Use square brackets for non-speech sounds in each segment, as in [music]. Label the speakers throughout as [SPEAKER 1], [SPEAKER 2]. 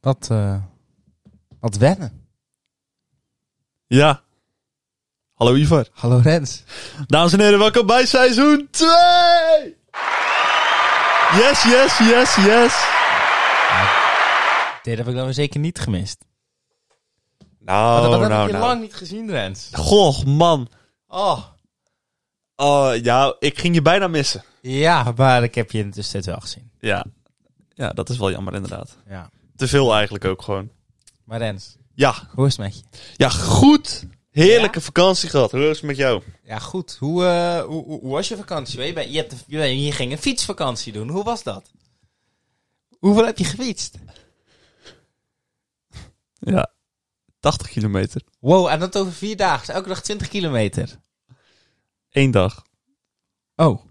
[SPEAKER 1] Wat, eh, wat wennen.
[SPEAKER 2] Ja. Hallo Ivar.
[SPEAKER 1] Hallo Rens.
[SPEAKER 2] Dames en heren, welkom bij seizoen 2! Yes, yes, yes, yes.
[SPEAKER 1] Dit heb ik dan weer zeker niet gemist.
[SPEAKER 2] Nou,
[SPEAKER 1] dat heb
[SPEAKER 2] nou,
[SPEAKER 1] ik je
[SPEAKER 2] nou.
[SPEAKER 1] lang niet gezien, Rens.
[SPEAKER 2] Goh, man.
[SPEAKER 1] Oh.
[SPEAKER 2] Oh, ja, ik ging je bijna missen.
[SPEAKER 1] Ja, maar ik heb je in de tussentijd wel gezien.
[SPEAKER 2] Ja. Ja, dat is wel jammer inderdaad.
[SPEAKER 1] Ja.
[SPEAKER 2] Te veel eigenlijk ook gewoon.
[SPEAKER 1] Maar Rens,
[SPEAKER 2] Ja.
[SPEAKER 1] hoe is het met je?
[SPEAKER 2] Ja, goed. Heerlijke vakantie gehad. Hoe is het met jou?
[SPEAKER 1] Ja, goed. Hoe, eh, hoe, hoe, hoe was je vakantie? Je, bent- je, hebt, je, bent- je ging een fietsvakantie doen. Hoe was dat? Hoeveel heb je gefietst?
[SPEAKER 2] Ja. 80 kilometer.
[SPEAKER 1] Wow, en dat over vier dagen. Dus Elke dag 20 kilometer.
[SPEAKER 2] Eén dag.
[SPEAKER 1] Oh.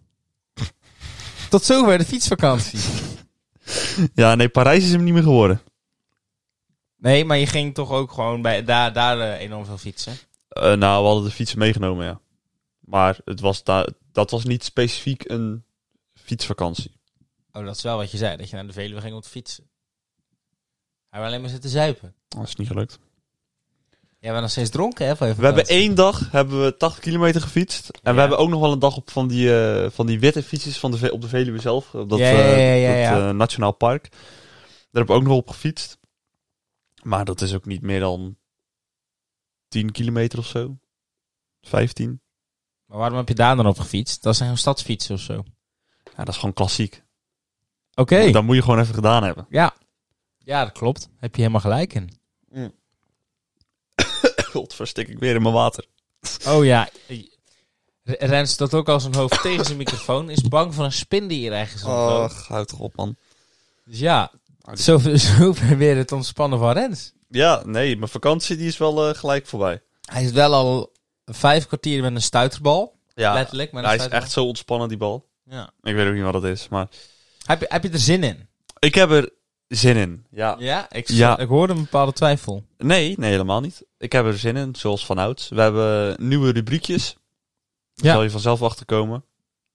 [SPEAKER 1] Tot zover de fietsvakantie.
[SPEAKER 2] Ja, nee, Parijs is hem niet meer geworden.
[SPEAKER 1] Nee, maar je ging toch ook gewoon bij, daar, daar eh, enorm veel fietsen.
[SPEAKER 2] Eh, nou, we hadden de fiets meegenomen, ja. Maar het was da dat was niet specifiek een fietsvakantie.
[SPEAKER 1] Oh, dat is wel wat je zei. Dat je naar de Veluwe ging om te fietsen. Hij wil alleen maar zitten zuipen.
[SPEAKER 2] Dat is niet gelukt.
[SPEAKER 1] Jij bent nog steeds dronken, hè? Van je
[SPEAKER 2] We hebben
[SPEAKER 1] vakantie.
[SPEAKER 2] één dag hebben we 80 kilometer gefietst. En
[SPEAKER 1] Ja.
[SPEAKER 2] we hebben ook nog wel een dag op van die, eh, van die witte fietsjes van de, Ve- op de Veluwe zelf. Op dat,
[SPEAKER 1] Ja,
[SPEAKER 2] eh,
[SPEAKER 1] ja, ja, ja,
[SPEAKER 2] dat
[SPEAKER 1] ja.
[SPEAKER 2] eh, Nationaal Park. Daar hebben we ook nog op gefietst. Maar dat is ook niet meer dan 10 kilometer of zo. 15.
[SPEAKER 1] Maar waarom heb je daar dan op gefietst? Dat zijn gewoon stadsfietsen of zo. Oké.
[SPEAKER 2] Ja, dat is gewoon klassiek. Dat moet je gewoon even gedaan hebben. [coughs]
[SPEAKER 1] Ja. Ja, dat klopt. Heb je helemaal gelijk in.
[SPEAKER 2] God, verstik ik weer in mijn water.
[SPEAKER 1] Oh ja. R- Rens dat ook al zijn hoofd [laughs] tegen zijn microfoon. Is bang voor een spin die hier ergens
[SPEAKER 2] Oh.
[SPEAKER 1] rondloopt.
[SPEAKER 2] houd toch op, man.
[SPEAKER 1] Dus ja. Zo, [laughs] zo weer het ontspannen van Rens.
[SPEAKER 2] Ja, nee, mijn vakantie die is wel eh, gelijk voorbij.
[SPEAKER 1] Hij is wel al vijf kwartier met een stuiterbal.
[SPEAKER 2] Ja,
[SPEAKER 1] Letterlijk, maar een
[SPEAKER 2] hij is
[SPEAKER 1] stuiterbal.
[SPEAKER 2] echt zo ontspannen, die bal.
[SPEAKER 1] Ja.
[SPEAKER 2] Ik weet ook niet wat dat is, maar...
[SPEAKER 1] Heb, je, heb je er zin in?
[SPEAKER 2] Ik heb er zin in, ja.
[SPEAKER 1] Ja, ik,
[SPEAKER 2] Ja.
[SPEAKER 1] ik hoorde een bepaalde twijfel.
[SPEAKER 2] Nee, nee, helemaal niet. Ik heb er zin in, zoals vanouds. We hebben nieuwe rubriekjes. Daar
[SPEAKER 1] Ja.
[SPEAKER 2] zal je vanzelf achter komen.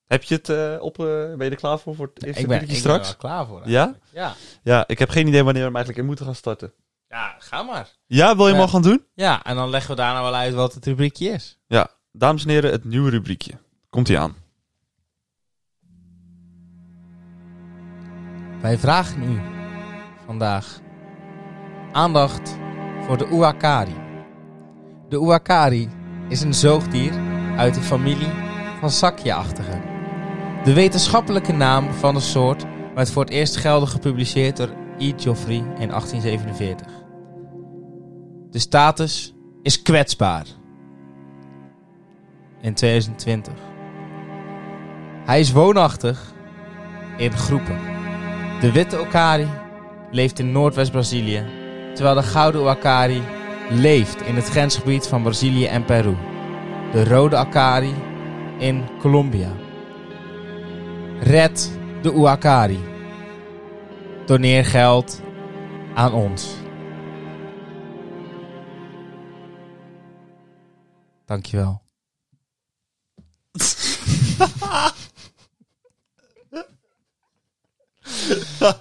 [SPEAKER 2] Heb je het eh, op... eh, ben je er klaar voor, voor het eerste
[SPEAKER 1] Ik ben, ik
[SPEAKER 2] rubriekje
[SPEAKER 1] ben er
[SPEAKER 2] straks?
[SPEAKER 1] wel klaar voor.
[SPEAKER 2] ja?
[SPEAKER 1] Ja.
[SPEAKER 2] Ja, ik heb geen idee wanneer we hem eigenlijk in moeten gaan starten.
[SPEAKER 1] ja, ga maar.
[SPEAKER 2] Ja, wil je hem
[SPEAKER 1] Ja.
[SPEAKER 2] al gaan doen?
[SPEAKER 1] Ja, en dan leggen we daarna wel uit wat het rubriekje is.
[SPEAKER 2] Ja. Dames en heren, het nieuwe rubriekje. Komt-ie aan.
[SPEAKER 1] Wij vragen u vandaag aandacht voor de Uakari. De Uakari is een zoogdier uit de familie van zakjeachtigen. De wetenschappelijke naam van de soort werd voor het eerst geldig gepubliceerd door E. Geoffrey in 1847. De status is kwetsbaar. In 2020. Hij is woonachtig in groepen. De witte okari leeft in Noordwest-Brazilië, terwijl de gouden okari leeft in het grensgebied van Brazilië en Peru. De rode okari in Colombia. Red de Uakari. Doneer geld aan ons. Dankjewel. [laughs]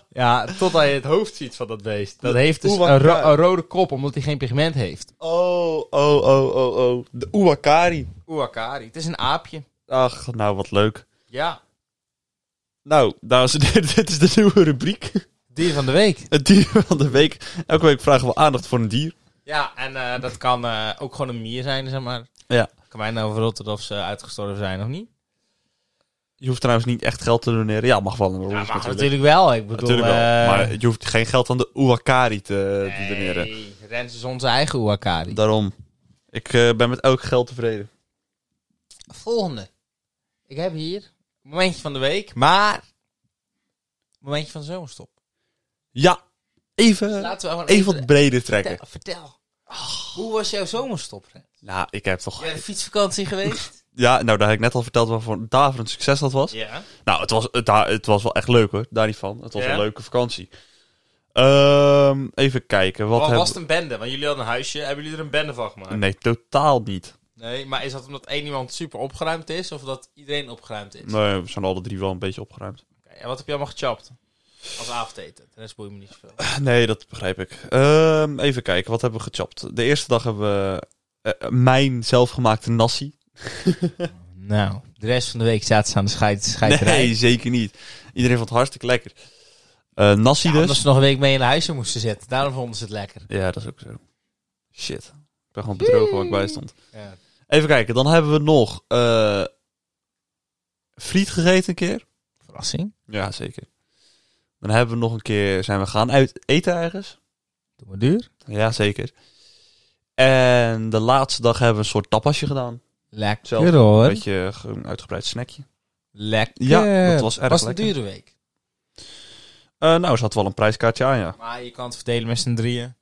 [SPEAKER 1] Ja, totdat je het hoofd ziet van dat beest. Dat heeft dus een,
[SPEAKER 2] Uakari.
[SPEAKER 1] ro- een rode kop, omdat hij geen pigment heeft.
[SPEAKER 2] Oh, oh, oh, oh, oh. De Uwakari.
[SPEAKER 1] Uakari, het is een aapje.
[SPEAKER 2] Ach, nou wat leuk.
[SPEAKER 1] Ja,
[SPEAKER 2] Nou, dames en heren, [laughs] dit is de nieuwe rubriek.
[SPEAKER 1] dier van de week.
[SPEAKER 2] Het dier van de week. Elke week vragen we aandacht voor een dier.
[SPEAKER 1] Ja, en eh, dat kan eh, ook gewoon een mier zijn, zeg maar.
[SPEAKER 2] Ja.
[SPEAKER 1] Kan mij nou verrotten of ze uitgestorven zijn of niet?
[SPEAKER 2] Je hoeft trouwens niet echt geld te doneren. Ja, mag wel. Een
[SPEAKER 1] Ja,
[SPEAKER 2] rol
[SPEAKER 1] mag natuurlijk wel. Ik bedoel,
[SPEAKER 2] Natuurlijk wel.
[SPEAKER 1] eh,
[SPEAKER 2] Maar je hoeft geen geld aan de Uwakari te, te doneren.
[SPEAKER 1] nee, Rens is onze eigen Uakari.
[SPEAKER 2] Daarom. Ik eh, ben met elk geld tevreden.
[SPEAKER 1] Volgende. Ik heb hier momentje van de week, maar momentje van de zomerstop.
[SPEAKER 2] Ja, even,
[SPEAKER 1] Laten we gewoon
[SPEAKER 2] Eh, even wat breder trekken.
[SPEAKER 1] vertel. vertel. Hoe was jouw zomerstop, Rens?
[SPEAKER 2] Nou, ik heb toch...
[SPEAKER 1] Jij de fietsvakantie geweest?
[SPEAKER 2] Ja, nou, daar heb ik net al verteld waarvoor een daverend succes dat was.
[SPEAKER 1] ja.
[SPEAKER 2] Nou, het was, het, da- het was wel echt leuk hoor. Daar niet van. Het was
[SPEAKER 1] Ja?
[SPEAKER 2] een leuke vakantie. Ehm, even kijken. Wat
[SPEAKER 1] Wat
[SPEAKER 2] hebben
[SPEAKER 1] was het een bende? Want jullie hadden een huisje. Hebben jullie er een bende van gemaakt?
[SPEAKER 2] Nee, totaal niet.
[SPEAKER 1] Nee, maar is dat omdat één iemand super opgeruimd is of dat iedereen opgeruimd is?
[SPEAKER 2] Nee, we zijn alle drie wel een beetje opgeruimd. [clears throat]
[SPEAKER 1] Oké, en wat heb je allemaal gechapt? Als avondeten. De rest boeit me niet zoveel.
[SPEAKER 2] Nee, dat begrijp ik. Ehm, even kijken, wat hebben we gechapt? De eerste dag hebben we eh, mijn zelfgemaakte nasi.
[SPEAKER 1] Nou, de rest van de week zaten ze aan de scheid, scheiterij.
[SPEAKER 2] Nee, zeker niet. Iedereen vond het hartstikke lekker. Eh nasi
[SPEAKER 1] Ja,
[SPEAKER 2] dus.
[SPEAKER 1] omdat ze nog een week mee in de huizen moesten zitten. Daarom vonden ze het lekker.
[SPEAKER 2] Ja, dat is ook zo. Shit. Ik ben gewoon bedrogen waar ik bij stond.
[SPEAKER 1] Ja.
[SPEAKER 2] Even kijken, dan hebben we nog eh friet gegeten een keer.
[SPEAKER 1] Verrassing.
[SPEAKER 2] Ja, zeker. Dan hebben we nog een keer, zijn we gaan uit eten ergens.
[SPEAKER 1] Doe maar duur.
[SPEAKER 2] Ja, zeker. En de laatste dag hebben we een soort tapasje gedaan. Zelf,
[SPEAKER 1] Lekker hoor.
[SPEAKER 2] Een beetje een uitgebreid snackje.
[SPEAKER 1] Lekker.
[SPEAKER 2] Ja, dat was erg
[SPEAKER 1] was een
[SPEAKER 2] lekker.
[SPEAKER 1] dure week.
[SPEAKER 2] Eh, nou, ze had wel een prijskaartje aan, ja.
[SPEAKER 1] Maar je kan het verdelen met z'n drieën.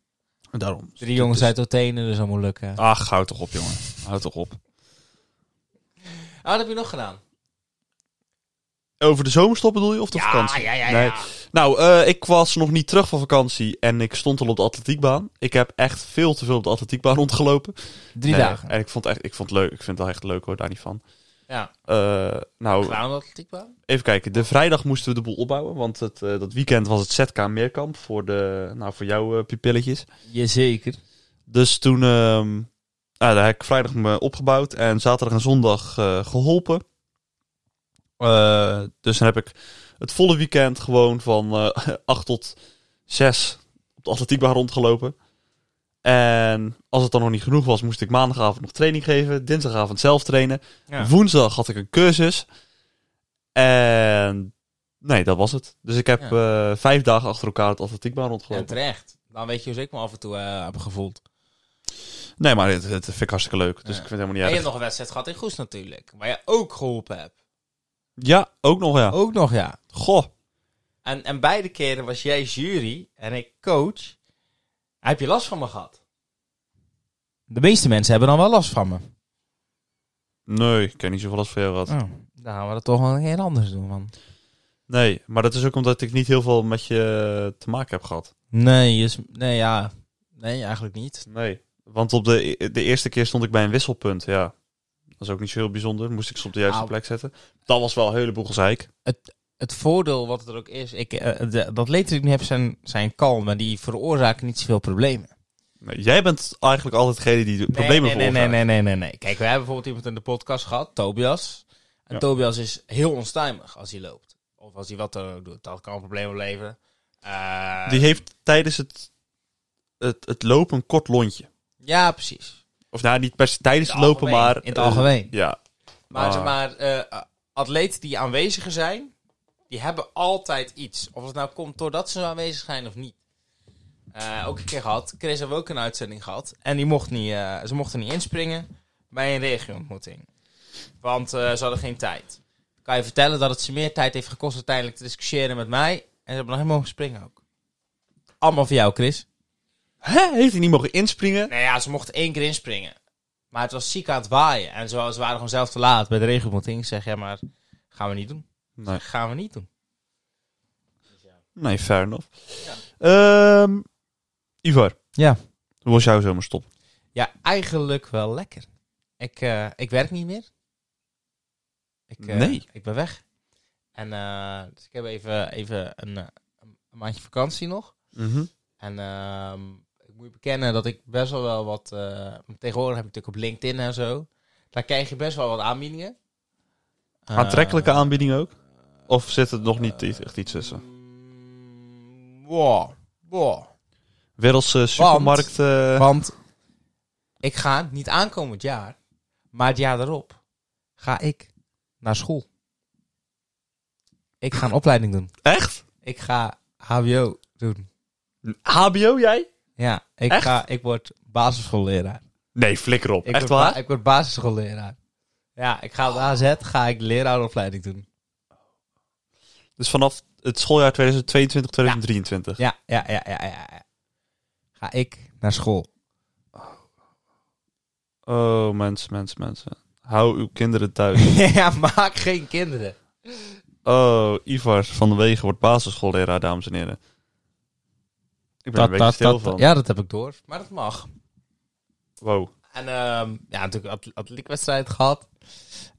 [SPEAKER 2] Daarom.
[SPEAKER 1] Drie jongens
[SPEAKER 2] Dus-
[SPEAKER 1] uit Athene, dus dat moet lukken.
[SPEAKER 2] Ach, houd toch op, jongen. Houd toch op.
[SPEAKER 1] Ah, wat heb je nog gedaan?
[SPEAKER 2] Over de zomerstop bedoel je of de vakantie?
[SPEAKER 1] ja, ja,
[SPEAKER 2] Nee. Nou, eh, ik was nog niet terug van vakantie en ik stond al op de atletiekbaan. Ik heb echt veel te veel op de atletiekbaan rondgelopen.
[SPEAKER 1] Drie
[SPEAKER 2] Nee,
[SPEAKER 1] dagen.
[SPEAKER 2] En ik vond, het echt, ik vond het leuk. Ik vind het wel echt leuk hoor, daar niet van.
[SPEAKER 1] Ja.
[SPEAKER 2] Eh, nou,
[SPEAKER 1] Gedaan dat atletiekbaan?
[SPEAKER 2] even kijken. De vrijdag moesten we de boel opbouwen, want het, eh, dat weekend was het ZK Meerkamp voor, de, nou, voor jouw eh, pupilletjes.
[SPEAKER 1] Jazeker.
[SPEAKER 2] Dus toen, ehm nou, daar heb ik vrijdag me opgebouwd en zaterdag en zondag eh, geholpen. Eh, dus dan heb ik het volle weekend gewoon van eh [laughs] 8 tot 6 op de atletiekbaan rondgelopen. En als het dan nog niet genoeg was, moest ik maandagavond nog training geven. Dinsdagavond zelf trainen.
[SPEAKER 1] Ja.
[SPEAKER 2] Woensdag had ik een cursus. En nee, dat was het. Dus ik heb eh, vijf dagen achter elkaar op de atletiekbaan
[SPEAKER 1] En
[SPEAKER 2] rondgelopen.
[SPEAKER 1] terecht. Dan weet je hoe ik me af en toe eh, heb gevoeld.
[SPEAKER 2] Nee, maar het, het vind ik hartstikke leuk. Dus
[SPEAKER 1] Ja.
[SPEAKER 2] ik vind het helemaal niet
[SPEAKER 1] en je
[SPEAKER 2] erg.
[SPEAKER 1] hebt nog een wedstrijd gehad in Goes natuurlijk. Waar je ook geholpen hebt.
[SPEAKER 2] Ja, ook nog ja.
[SPEAKER 1] Ook nog, ja.
[SPEAKER 2] Goh.
[SPEAKER 1] En, en beide keren was jij jury en ik coach. Heb je last van me gehad? De meeste mensen hebben dan wel last van me.
[SPEAKER 2] Nee, ik ken niet zoveel als voor jou gehad.
[SPEAKER 1] Oh, dan gaan we dat toch wel een keer anders doen, man.
[SPEAKER 2] Nee, maar dat is ook omdat ik niet heel veel met je te maken heb gehad.
[SPEAKER 1] Nee, is, nee, ja. Nee, eigenlijk niet.
[SPEAKER 2] Nee. Want op de, de eerste keer stond ik bij een wisselpunt, ja. Dat is ook niet zo heel bijzonder. Moest ik ze op de juiste
[SPEAKER 1] Au.
[SPEAKER 2] plek zetten. Dat was wel een heleboel gezeik.
[SPEAKER 1] Het voordeel wat er ook is, ik, eh, de- dat leed dat ik nu heb zijn, zijn kalm, maar die veroorzaken niet zoveel problemen.
[SPEAKER 2] Nee, jij bent eigenlijk altijd degene die de problemen
[SPEAKER 1] nee, nee, nee,
[SPEAKER 2] veroorzaakt.
[SPEAKER 1] nee, nee, nee, nee. Kijk, we hebben bijvoorbeeld iemand in de podcast gehad, Tobias. En
[SPEAKER 2] Ja.
[SPEAKER 1] Tobias is heel onstuimig als hij loopt. Of als hij wat dan ook doet. Dat kan een probleem opleveren. Eh,
[SPEAKER 2] Die heeft tijdens het, het, het lopen een kort lontje.
[SPEAKER 1] Ja, precies.
[SPEAKER 2] Of nou, niet per se tijdens
[SPEAKER 1] In
[SPEAKER 2] het
[SPEAKER 1] het
[SPEAKER 2] lopen,
[SPEAKER 1] algemeen.
[SPEAKER 2] maar...
[SPEAKER 1] In het
[SPEAKER 2] eh,
[SPEAKER 1] algemeen.
[SPEAKER 2] ja.
[SPEAKER 1] Maar,
[SPEAKER 2] Ah.
[SPEAKER 1] zeg maar eh, atleten die aanweziger zijn, die hebben altijd iets. Of het nou komt doordat ze aanwezig zijn of niet. Eh, ook een keer gehad. Chris hebben we ook een uitzending gehad. En die mocht niet, eh, ze mochten niet inspringen bij een regioontmoeting. Want eh, ze hadden geen tijd. Kan je vertellen dat het ze meer tijd heeft gekost uiteindelijk te discussiëren met mij. En ze hebben nog helemaal mogen springen ook. Allemaal voor jou, Chris.
[SPEAKER 2] Hè? Heeft hij niet mogen inspringen?
[SPEAKER 1] Nou ja, ze mochten één keer inspringen. Maar het was ziek aan het waaien. En ze, ze waren gewoon zelf te laat bij de regelmoting. Ik zeg, ja, maar gaan we niet doen.
[SPEAKER 2] Nee.
[SPEAKER 1] Gaan we niet doen.
[SPEAKER 2] Nee, fair enough. Ehm, Ivar.
[SPEAKER 1] Ja.
[SPEAKER 2] Hoe was jouw zomerstop?
[SPEAKER 1] Ja, eigenlijk wel lekker. Ik, eh, ik werk niet meer. Ik, eh,
[SPEAKER 2] Nee.
[SPEAKER 1] Ik ben weg. En eh, dus ik heb even, even een, eh, een maandje vakantie nog. En ehm, ik moet je bekennen dat ik best wel wel wat... eh, tegenwoordig heb ik natuurlijk op LinkedIn en zo. Daar krijg je best wel wat aanbiedingen.
[SPEAKER 2] Aantrekkelijke
[SPEAKER 1] Eh,
[SPEAKER 2] aanbieding ook? Of zit het nog niet i- echt iets tussen?
[SPEAKER 1] Mm, Wow. Wow.
[SPEAKER 2] Wereldse supermarkt... eh,
[SPEAKER 1] Want ik ga niet aankomend jaar, maar het jaar daarop ga ik naar school. Ik ga een opleiding doen.
[SPEAKER 2] Echt?
[SPEAKER 1] Ik ga HBO doen.
[SPEAKER 2] HBO jij?
[SPEAKER 1] Ja, ik,
[SPEAKER 2] Echt?
[SPEAKER 1] ga, ik word basisschoolleraar.
[SPEAKER 2] Nee, flikker op.
[SPEAKER 1] Ik
[SPEAKER 2] echt
[SPEAKER 1] word ba-
[SPEAKER 2] waar?
[SPEAKER 1] ik word basisschoolleraar. Ja, ik ga op de AZ ga ik leraaropleiding doen.
[SPEAKER 2] Dus vanaf het schooljaar 2022, 2023.
[SPEAKER 1] Ja, ja, ja, ja, ja. ja. Ga ik naar school. [laughs]
[SPEAKER 2] Oh, mensen, mensen, mensen. Hou uw kinderen
[SPEAKER 1] [laughs]
[SPEAKER 2] thuis.
[SPEAKER 1] ja, maak geen kinderen.
[SPEAKER 2] oh, Ivar van de Wegen wordt basisschoolleraar, dames en heren. Ik ben er een beetje stil van.
[SPEAKER 1] Ja, dat heb ik door. Maar dat mag.
[SPEAKER 2] Wow.
[SPEAKER 1] En ehm, ja, natuurlijk atl- atletiekwedstrijd gehad.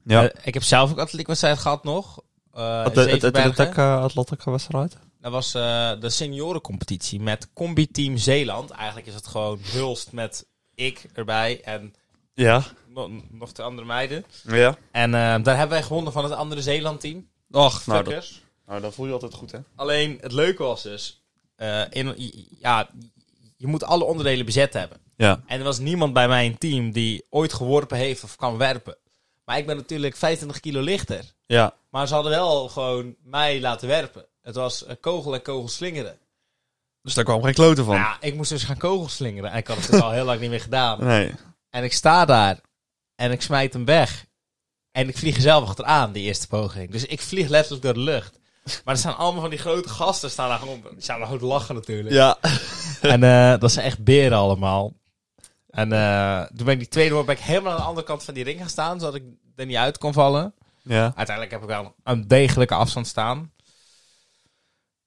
[SPEAKER 2] Ja.
[SPEAKER 1] Eh, ik heb zelf ook atletiekwedstrijd gehad nog. Eh,
[SPEAKER 2] At- het- het-
[SPEAKER 1] Zevenbergen.
[SPEAKER 2] het- het- Atlantica wedstrijd?
[SPEAKER 1] Dat was eh, de seniorencompetitie met Combi Team Zeeland. Eigenlijk is het gewoon Hulst met ik erbij en
[SPEAKER 2] Ja.
[SPEAKER 1] no- nog de andere meiden.
[SPEAKER 2] Ja.
[SPEAKER 1] En eh, daar hebben wij gewonnen van het andere Zeeland team.
[SPEAKER 2] Ach, nou dat,
[SPEAKER 1] Fuckers.
[SPEAKER 2] nou, dat voel je altijd goed, hè?
[SPEAKER 1] Alleen het leuke was dus, eh, in, ja, je moet alle onderdelen bezet hebben.
[SPEAKER 2] Ja.
[SPEAKER 1] En er was niemand bij mijn team die ooit geworpen heeft of kan werpen. Maar ik ben natuurlijk 25 kilo lichter.
[SPEAKER 2] Ja.
[SPEAKER 1] Maar ze hadden wel gewoon mij laten werpen. Het was eh, kogel en kogel slingeren.
[SPEAKER 2] Dus daar kwam geen kloten van.
[SPEAKER 1] Nou Ja, ik moest dus gaan kogel slingeren. En ik had het dus al heel lang niet meer gedaan.
[SPEAKER 2] Nee.
[SPEAKER 1] En ik sta daar. En ik smijt hem weg. En ik vlieg er zelf achteraan, die eerste poging. Dus ik vlieg letterlijk door de lucht. Maar er staan allemaal van die grote gasten. Staan daar gewoon, die staan daar gewoon te lachen natuurlijk.
[SPEAKER 2] Ja.
[SPEAKER 1] [laughs] En eh, dat zijn echt beren allemaal. En eh, toen ben ik die tweede hoor ben ik helemaal aan de andere kant van die ring gaan staan, zodat ik er niet uit kon vallen.
[SPEAKER 2] Ja.
[SPEAKER 1] Uiteindelijk heb ik wel een degelijke afstand staan.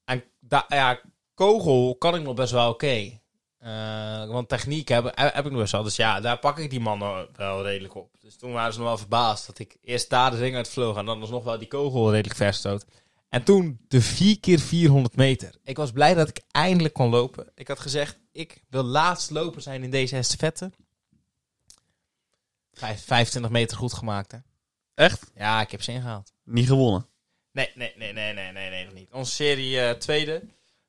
[SPEAKER 1] En da- ja, kogel kan ik nog best wel oké. Eh, want techniek heb, heb ik nog best wel. Dus ja, daar pak ik die mannen wel redelijk op. Dus toen waren ze nog wel verbaasd dat ik eerst daar de ring uit vloog en dan nog wel die kogel redelijk verstoot. En toen de 4 keer 400 meter. Ik was blij dat ik eindelijk kon lopen. Ik had gezegd, ik wil laatst lopen zijn in deze estafette. Vijf- 25 meter goed gemaakt, hè?
[SPEAKER 2] Echt?
[SPEAKER 1] Ja, ik heb ze ingehaald.
[SPEAKER 2] Niet gewonnen.
[SPEAKER 1] Nee, nee, nee, nee, nee, nee, nee nog niet. Onze serie eh, tweede.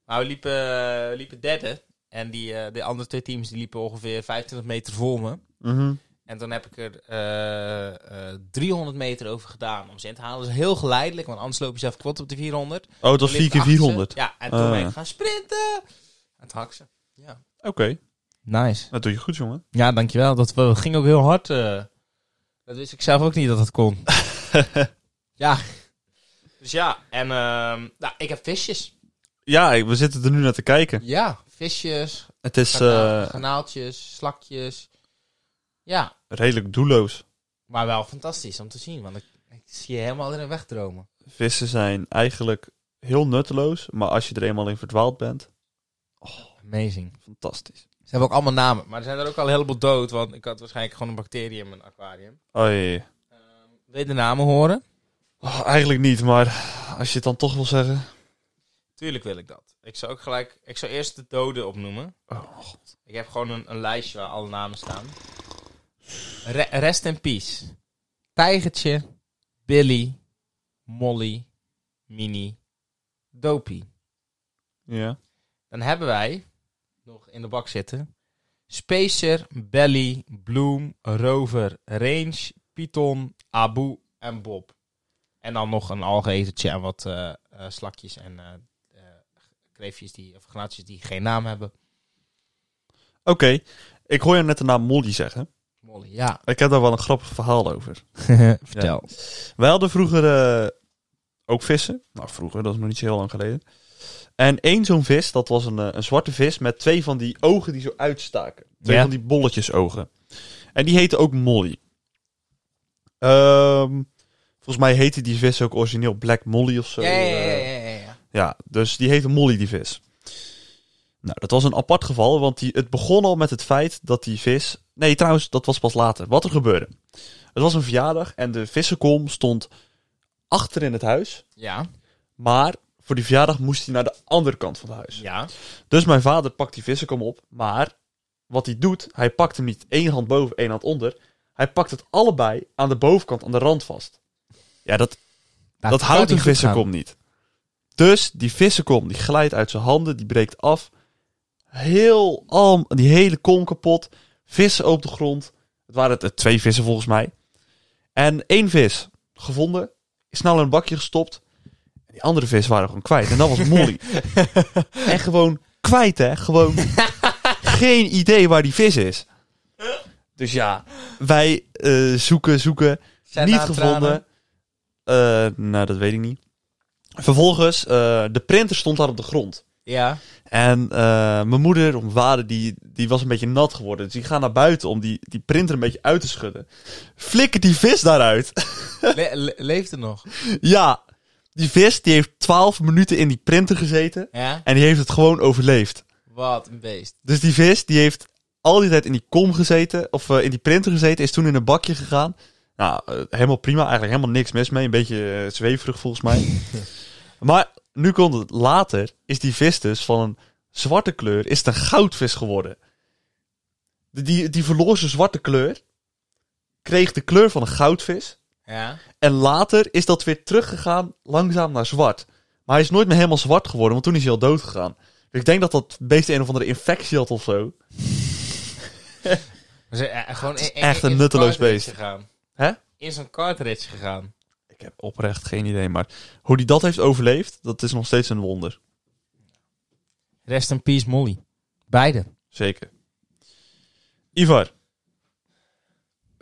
[SPEAKER 1] Maar we liepen, eh, we liepen derde. En die, eh, de andere twee teams die liepen ongeveer 25 meter voor me.
[SPEAKER 2] Mhm.
[SPEAKER 1] En dan heb ik er eh, eh, 300 meter over gedaan om ze in te halen. Dus heel geleidelijk, want anders loop je zelf kwart op de 400.
[SPEAKER 2] Oh, het was
[SPEAKER 1] Dan ligt
[SPEAKER 2] 4 keer
[SPEAKER 1] achter ze.
[SPEAKER 2] 400.
[SPEAKER 1] Ja, en toen
[SPEAKER 2] Ah.
[SPEAKER 1] ben ik gaan sprinten. En toen hak ik ze. Ja.
[SPEAKER 2] Oké.
[SPEAKER 1] Nice.
[SPEAKER 2] Dat doe je goed, jongen.
[SPEAKER 1] Ja, dankjewel. Dat we- ging ook heel hard. eh. dat wist ik zelf ook niet dat dat [laughs] kon. ja. Dus ja, en ehm, nou, ik heb visjes.
[SPEAKER 2] Ja, ik- we zitten er nu naar te kijken.
[SPEAKER 1] Ja, visjes,
[SPEAKER 2] Het is
[SPEAKER 1] garna-
[SPEAKER 2] eh,
[SPEAKER 1] garnaaltjes, slakjes. Ja,
[SPEAKER 2] redelijk doelloos.
[SPEAKER 1] maar wel fantastisch om te zien, want ik, ik zie je helemaal in een wegdromen.
[SPEAKER 2] Vissen zijn eigenlijk heel nutteloos, maar als je er eenmaal in verdwaald bent,
[SPEAKER 1] Amazing.
[SPEAKER 2] fantastisch.
[SPEAKER 1] Ze hebben ook allemaal namen, maar er zijn er ook al een heleboel dood, want ik had waarschijnlijk gewoon een bacterie in mijn aquarium.
[SPEAKER 2] Oei.
[SPEAKER 1] Ehm, wil je de namen horen?
[SPEAKER 2] Oh, eigenlijk niet, maar als je het dan toch wil zeggen.
[SPEAKER 1] Tuurlijk wil ik dat. Ik zou ook gelijk, ik zou eerst de doden opnoemen.
[SPEAKER 2] Oh,
[SPEAKER 1] Ik heb gewoon een, een lijstje waar alle namen staan. Re- rest in peace. Tijgertje, Billy, Molly, Mini, Dopie.
[SPEAKER 2] ja.
[SPEAKER 1] Dan hebben wij nog in de bak zitten. Spacer, Belly, Bloom, Rover, Range, Python, Abu en Bob. En dan nog een algeetertje en wat eh, eh, slakjes en eh eh, kreeftjes die, of granaatjes die geen naam hebben.
[SPEAKER 2] Oké, ik hoor je net de naam Molly zeggen.
[SPEAKER 1] Molly, [laughs] ja.
[SPEAKER 2] Ik heb daar wel een grappig verhaal over.
[SPEAKER 1] Vertel.
[SPEAKER 2] Wij hadden vroeger eh, ook vissen. Nou, vroeger, dat is nog niet zo heel lang geleden. En één zo'n vis, dat was een, eh, een zwarte vis met twee van die ogen die zo uitstaken. Twee
[SPEAKER 1] Ja.
[SPEAKER 2] van die bolletjes ogen. En die heette ook Molly. Ehm, volgens mij heette die vis ook origineel Black Molly of zo.
[SPEAKER 1] Ja, ja, ja,
[SPEAKER 2] eh.
[SPEAKER 1] ja, ja, ja.
[SPEAKER 2] Ja, dus die heette Molly, die vis. Nou, dat was een apart geval, want die, het begon al met het feit dat die vis... Nee, trouwens, dat was pas later. Wat er gebeurde. Het was een verjaardag en de vissenkom stond achter in het huis.
[SPEAKER 1] Ja,
[SPEAKER 2] Maar voor die verjaardag moest hij naar de andere kant van het huis.
[SPEAKER 1] ja.
[SPEAKER 2] Dus mijn vader pakt die vissenkom op, maar wat hij doet, hij pakt hem niet één hand boven, één hand onder. Hij pakt het allebei aan de bovenkant, aan de rand vast. Ja, dat dat houdt een vissenkom niet. Dus die vissenkom die glijdt uit zijn handen, die breekt af. Heel alm, die hele kom kapot. Vissen op de grond. Het waren er twee vissen volgens mij. En één vis gevonden, is snel in een bakje gestopt. En die andere vis waren gewoon kwijt. En dat was Molly. en gewoon kwijt, hè? Gewoon geen idee waar die vis is. Dus ja, wij eh, zoeken, zoeken niet gevonden. Eh, nou, dat weet ik niet. Vervolgens, eh, de printer stond daar op de grond.
[SPEAKER 1] Ja.
[SPEAKER 2] En eh, mijn moeder, of mijn vader, die, die was een beetje nat geworden. Dus die gaan naar buiten om die, die printer een beetje uit te schudden. Flikker die vis daaruit.
[SPEAKER 1] [laughs]
[SPEAKER 2] [laughs]
[SPEAKER 1] Le- le- leeft het nog?
[SPEAKER 2] ja, die vis die heeft 12 minuten in die printer gezeten.
[SPEAKER 1] Ja.
[SPEAKER 2] En die heeft het gewoon overleefd.
[SPEAKER 1] Wat een beest.
[SPEAKER 2] Dus die vis die heeft al die tijd in die kom gezeten, of eh, in die printer gezeten, is toen in een bakje gegaan. Nou, eh, helemaal prima, eigenlijk helemaal niks mis mee. Een beetje eh, zweverig volgens mij. maar nu komt het later, is die vis dus van een zwarte kleur, is het een goudvis geworden. Die- Die, die verloor zijn zwarte kleur, kreeg de kleur van een goudvis.
[SPEAKER 1] Ja.
[SPEAKER 2] En later is dat weer teruggegaan langzaam naar zwart. Maar hij is nooit meer helemaal zwart geworden, want toen is hij al dood gegaan. Dus ik denk dat dat beest een of andere infectie had of zo.
[SPEAKER 1] We zijn eh, gewoon in- in-
[SPEAKER 2] echt
[SPEAKER 1] in
[SPEAKER 2] een
[SPEAKER 1] zo'n
[SPEAKER 2] nutteloos
[SPEAKER 1] cartridge
[SPEAKER 2] beest.
[SPEAKER 1] Gegaan.
[SPEAKER 2] Hè?
[SPEAKER 1] In zo'n cartridge gegaan.
[SPEAKER 2] Ik heb oprecht geen idee, maar hoe hij dat heeft overleefd, dat is nog steeds een wonder.
[SPEAKER 1] Rest in peace, Molly. Beide.
[SPEAKER 2] Zeker. Ivar,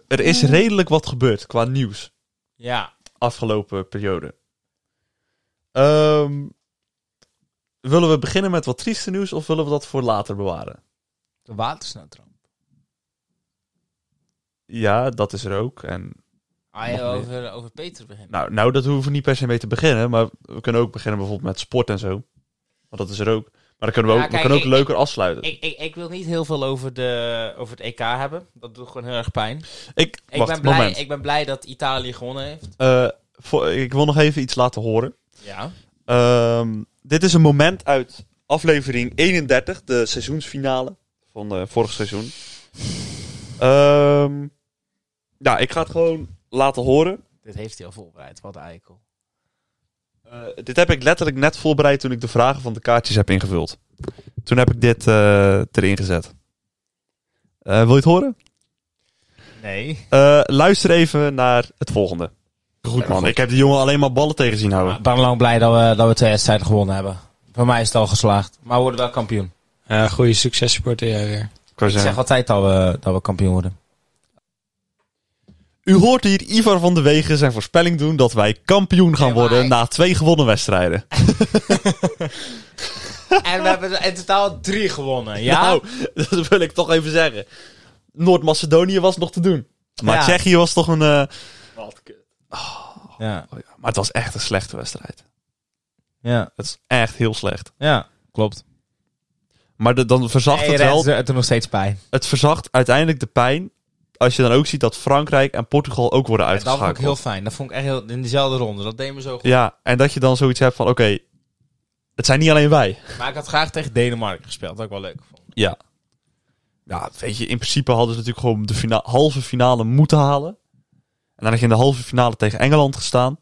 [SPEAKER 2] er is
[SPEAKER 1] Hmm.
[SPEAKER 2] redelijk wat gebeurd qua nieuws
[SPEAKER 1] Ja.
[SPEAKER 2] afgelopen periode. Ehm, willen we beginnen met wat trieste nieuws of willen we dat voor later bewaren?
[SPEAKER 1] De watersnoodramp.
[SPEAKER 2] Ja, dat is er ook. En
[SPEAKER 1] Ah, ja,
[SPEAKER 2] Nog meer.
[SPEAKER 1] over, over Peter beginnen.
[SPEAKER 2] nou, nou, dat hoeven we niet per se mee te beginnen, maar we kunnen ook beginnen bijvoorbeeld met sport en zo. Want dat is er ook. Maar dan kunnen we
[SPEAKER 1] Ja,
[SPEAKER 2] ook,
[SPEAKER 1] kijk,
[SPEAKER 2] we kunnen ook
[SPEAKER 1] ik-
[SPEAKER 2] leuker afsluiten.
[SPEAKER 1] Ik, ik, ik wil niet heel veel over, de, over het EK hebben. Dat doet gewoon heel erg pijn.
[SPEAKER 2] Ik,
[SPEAKER 1] Ik,
[SPEAKER 2] wacht,
[SPEAKER 1] ben, blij,
[SPEAKER 2] moment.
[SPEAKER 1] ik ben blij dat Italië gewonnen heeft.
[SPEAKER 2] Eh, voor, ik wil nog even iets laten horen.
[SPEAKER 1] Ja.
[SPEAKER 2] Ehm, dit is een moment uit aflevering 31, de seizoensfinale van eh, vorig seizoen. Ehm nou, ik ga het gewoon laten horen.
[SPEAKER 1] Dit heeft hij al voorbereid. Wat een eikel.
[SPEAKER 2] Eh, dit heb ik letterlijk net voorbereid toen ik de vragen van de kaartjes heb ingevuld. Toen heb ik dit eh, erin gezet. Eh, wil je het horen?
[SPEAKER 1] Nee.
[SPEAKER 2] Eh, luister even naar het volgende. Goed man, ik heb die jongen alleen maar ballen tegen zien houden.
[SPEAKER 1] Ik ben lang blij dat we, dat we twee wedstrijden gewonnen hebben. Voor mij is het al geslaagd. Maar we worden wel kampioen.
[SPEAKER 3] Ja, goede succes supporter jij
[SPEAKER 2] Ik
[SPEAKER 3] weer.
[SPEAKER 2] wou
[SPEAKER 1] Ik
[SPEAKER 2] zeggen.
[SPEAKER 1] zeg altijd dat we, dat we kampioen worden.
[SPEAKER 2] U hoort hier Ivar van de Wegen zijn voorspelling doen dat wij kampioen gaan
[SPEAKER 1] Nee, maar
[SPEAKER 2] worden
[SPEAKER 1] hij-
[SPEAKER 2] na twee gewonnen wedstrijden.
[SPEAKER 1] [laughs] en we hebben in totaal drie gewonnen. Ja?
[SPEAKER 2] [laughs] Nou, dat wil ik toch even zeggen. Noord-Macedonië was nog te doen. Maar
[SPEAKER 1] Ja.
[SPEAKER 2] Tsjechië was toch een... eh,
[SPEAKER 1] Ja.
[SPEAKER 2] oh ja, maar het was echt een slechte wedstrijd.
[SPEAKER 1] Ja.
[SPEAKER 2] Het is echt heel slecht.
[SPEAKER 1] Ja. Klopt.
[SPEAKER 2] Maar de- dan verzacht
[SPEAKER 1] Nee,
[SPEAKER 2] het wel.
[SPEAKER 1] Rens, Het doet nog steeds pijn.
[SPEAKER 2] Het verzacht uiteindelijk de pijn. Als je dan ook ziet dat Frankrijk en Portugal ook worden
[SPEAKER 1] Dat vond ik
[SPEAKER 2] uitgeschakeld.
[SPEAKER 1] heel fijn. Dat vond ik echt heel, in dezelfde ronde. Dat deed me zo goed.
[SPEAKER 2] Ja, en dat je dan zoiets hebt van: oké, het zijn niet alleen wij.
[SPEAKER 1] Maar ik had graag tegen Denemarken gespeeld. Dat ik wel leuk vond.
[SPEAKER 2] Ja. Ja, weet je, in principe hadden ze natuurlijk gewoon de fina- halve finale moeten halen. En dan had je in de halve finale tegen Engeland gestaan.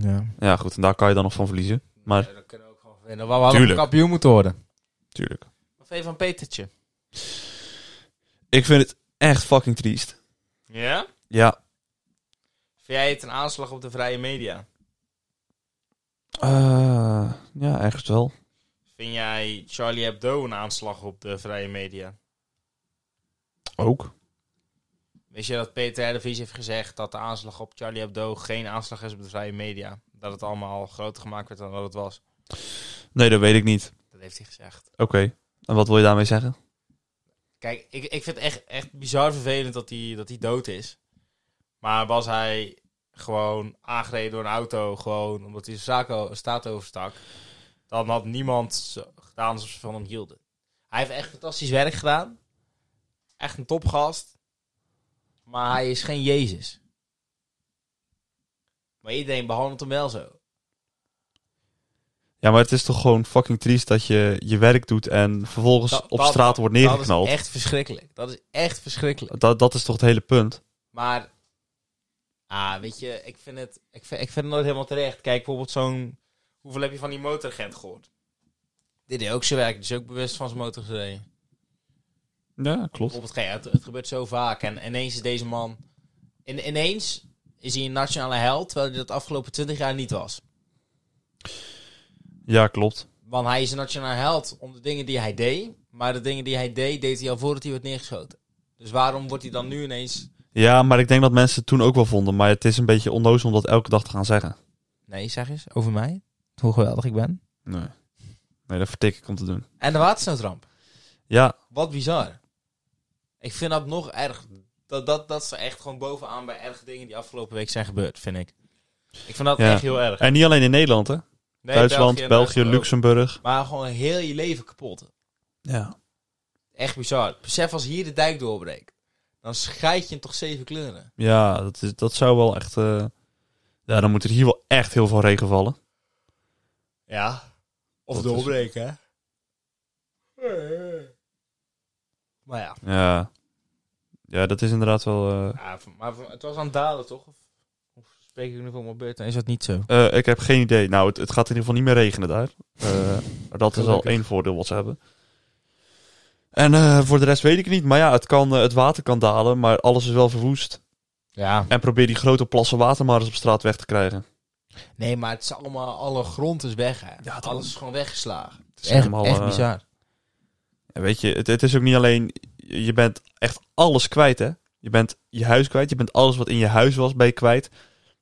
[SPEAKER 1] Ja.
[SPEAKER 2] Ja, goed, en daar kan je dan nog van verliezen. Maar
[SPEAKER 1] dat kunnen we ook gewoon winnen. We hadden
[SPEAKER 2] Tuurlijk.
[SPEAKER 1] kampioen moeten worden.
[SPEAKER 2] tuurlijk.
[SPEAKER 1] Of even een Petertje.
[SPEAKER 2] Ik vind het echt fucking triest.
[SPEAKER 1] Ja?
[SPEAKER 2] Ja.
[SPEAKER 1] Vind jij het een aanslag op de vrije media?
[SPEAKER 2] Eh, ja, ergens wel.
[SPEAKER 1] Vind jij Charlie Hebdo een aanslag op de vrije media?
[SPEAKER 2] Ook.
[SPEAKER 1] Wist je dat Peter R. de Vries heeft gezegd dat de aanslag op Charlie Hebdo geen aanslag is op de vrije media? Dat het allemaal groter gemaakt werd dan dat het was.
[SPEAKER 2] Nee, dat weet ik niet.
[SPEAKER 1] Dat heeft hij gezegd.
[SPEAKER 2] Oké. En wat wil je daarmee zeggen?
[SPEAKER 1] Kijk, ik, ik vind het echt, echt bizar vervelend dat hij, dat hij dood is. Maar was hij gewoon aangereden door een auto, gewoon omdat hij zijn zaak- staat overstak, dan had niemand zo- gedaan alsof ze van hem hielden. Hij heeft echt fantastisch werk gedaan. Echt een topgast. Maar hij is geen Jezus. Maar iedereen behandelt hem wel zo.
[SPEAKER 2] Ja, maar het is toch gewoon fucking triest dat je je werk doet en vervolgens
[SPEAKER 1] Dat-
[SPEAKER 2] op
[SPEAKER 1] dat-
[SPEAKER 2] straat wordt
[SPEAKER 1] Dat
[SPEAKER 2] neergeknald.
[SPEAKER 1] is echt verschrikkelijk. Dat is echt verschrikkelijk.
[SPEAKER 2] Dat, dat is toch het hele punt?
[SPEAKER 1] Maar, ah, weet je, ik vind het, ik vind, ik vind het nooit helemaal terecht. Kijk, bijvoorbeeld zo'n, hoeveel heb je van die motoragent gehoord? Dit deed ook zijn werk, dus ook bewust van zijn motor gereden.
[SPEAKER 2] Ja, klopt.
[SPEAKER 1] Bijvoorbeeld, kijk, het, het gebeurt zo vaak. En ineens is deze man, in, ineens is hij een nationale held, terwijl hij dat de afgelopen 20 jaar niet was.
[SPEAKER 2] Ja, klopt.
[SPEAKER 1] Want hij is een nationale held om de dingen die hij deed, maar de dingen die hij deed, deed hij al voordat hij werd neergeschoten. Dus waarom wordt hij dan nu ineens...
[SPEAKER 2] Ja, maar ik denk dat mensen het toen ook wel vonden. Maar het is een beetje onnozel om dat elke dag te gaan zeggen.
[SPEAKER 1] Nee, zeg eens, over mij, hoe geweldig ik ben.
[SPEAKER 2] Nee. Nee, dat vertik ik om te doen.
[SPEAKER 1] En de watersnoodramp.
[SPEAKER 2] Ja,
[SPEAKER 1] Wat bizar. Ik vind dat nog erg. Dat, dat, dat is echt gewoon bovenaan bij erge dingen die afgelopen week zijn gebeurd, vind ik. Ik vind dat
[SPEAKER 2] Ja.
[SPEAKER 1] echt heel erg.
[SPEAKER 2] en niet alleen in Nederland, hè?
[SPEAKER 1] Nee,
[SPEAKER 2] Duitsland, België,
[SPEAKER 1] en eh, Duitsland ook.
[SPEAKER 2] Luxemburg.
[SPEAKER 1] Maar gewoon heel je leven kapot.
[SPEAKER 2] Ja.
[SPEAKER 1] Echt bizar. Besef als hier de dijk doorbreekt, dan scheid je hem toch zeven kleuren.
[SPEAKER 2] Ja, dat, is, dat zou wel echt... eh, Ja, dan moet er hier wel echt heel veel regen vallen.
[SPEAKER 4] Ja. Of
[SPEAKER 2] Dat is-
[SPEAKER 4] doorbreken, hè? Maar ja.
[SPEAKER 2] Ja. Ja, dat is inderdaad wel... eh,
[SPEAKER 1] Ja, v- maar v- het was aan het dalen, toch? Of, of spreek ik nu voor mijn beurt? Dan is dat niet zo.
[SPEAKER 2] eh, ik heb geen idee. Nou, het, het gaat in ieder geval niet meer regenen daar. Eh, dat is al
[SPEAKER 1] Gelukkig.
[SPEAKER 2] één voordeel wat ze hebben. En eh, voor de rest weet ik het niet. Maar ja, het, kan, eh, het water kan dalen, maar alles is wel verwoest.
[SPEAKER 1] Ja.
[SPEAKER 2] En probeer die grote plassen water maar eens op straat weg te krijgen.
[SPEAKER 1] Nee, maar het is allemaal... Alle grond is weg, hè?
[SPEAKER 2] Ja, dat-
[SPEAKER 1] Alles is gewoon weggeslagen.
[SPEAKER 2] Het
[SPEAKER 1] Echt, echt
[SPEAKER 2] eh,
[SPEAKER 1] bizar.
[SPEAKER 2] En Weet je, het, het is ook niet alleen, je bent echt alles kwijt, hè? Je bent je huis kwijt, je bent alles wat in je huis was, ben je kwijt.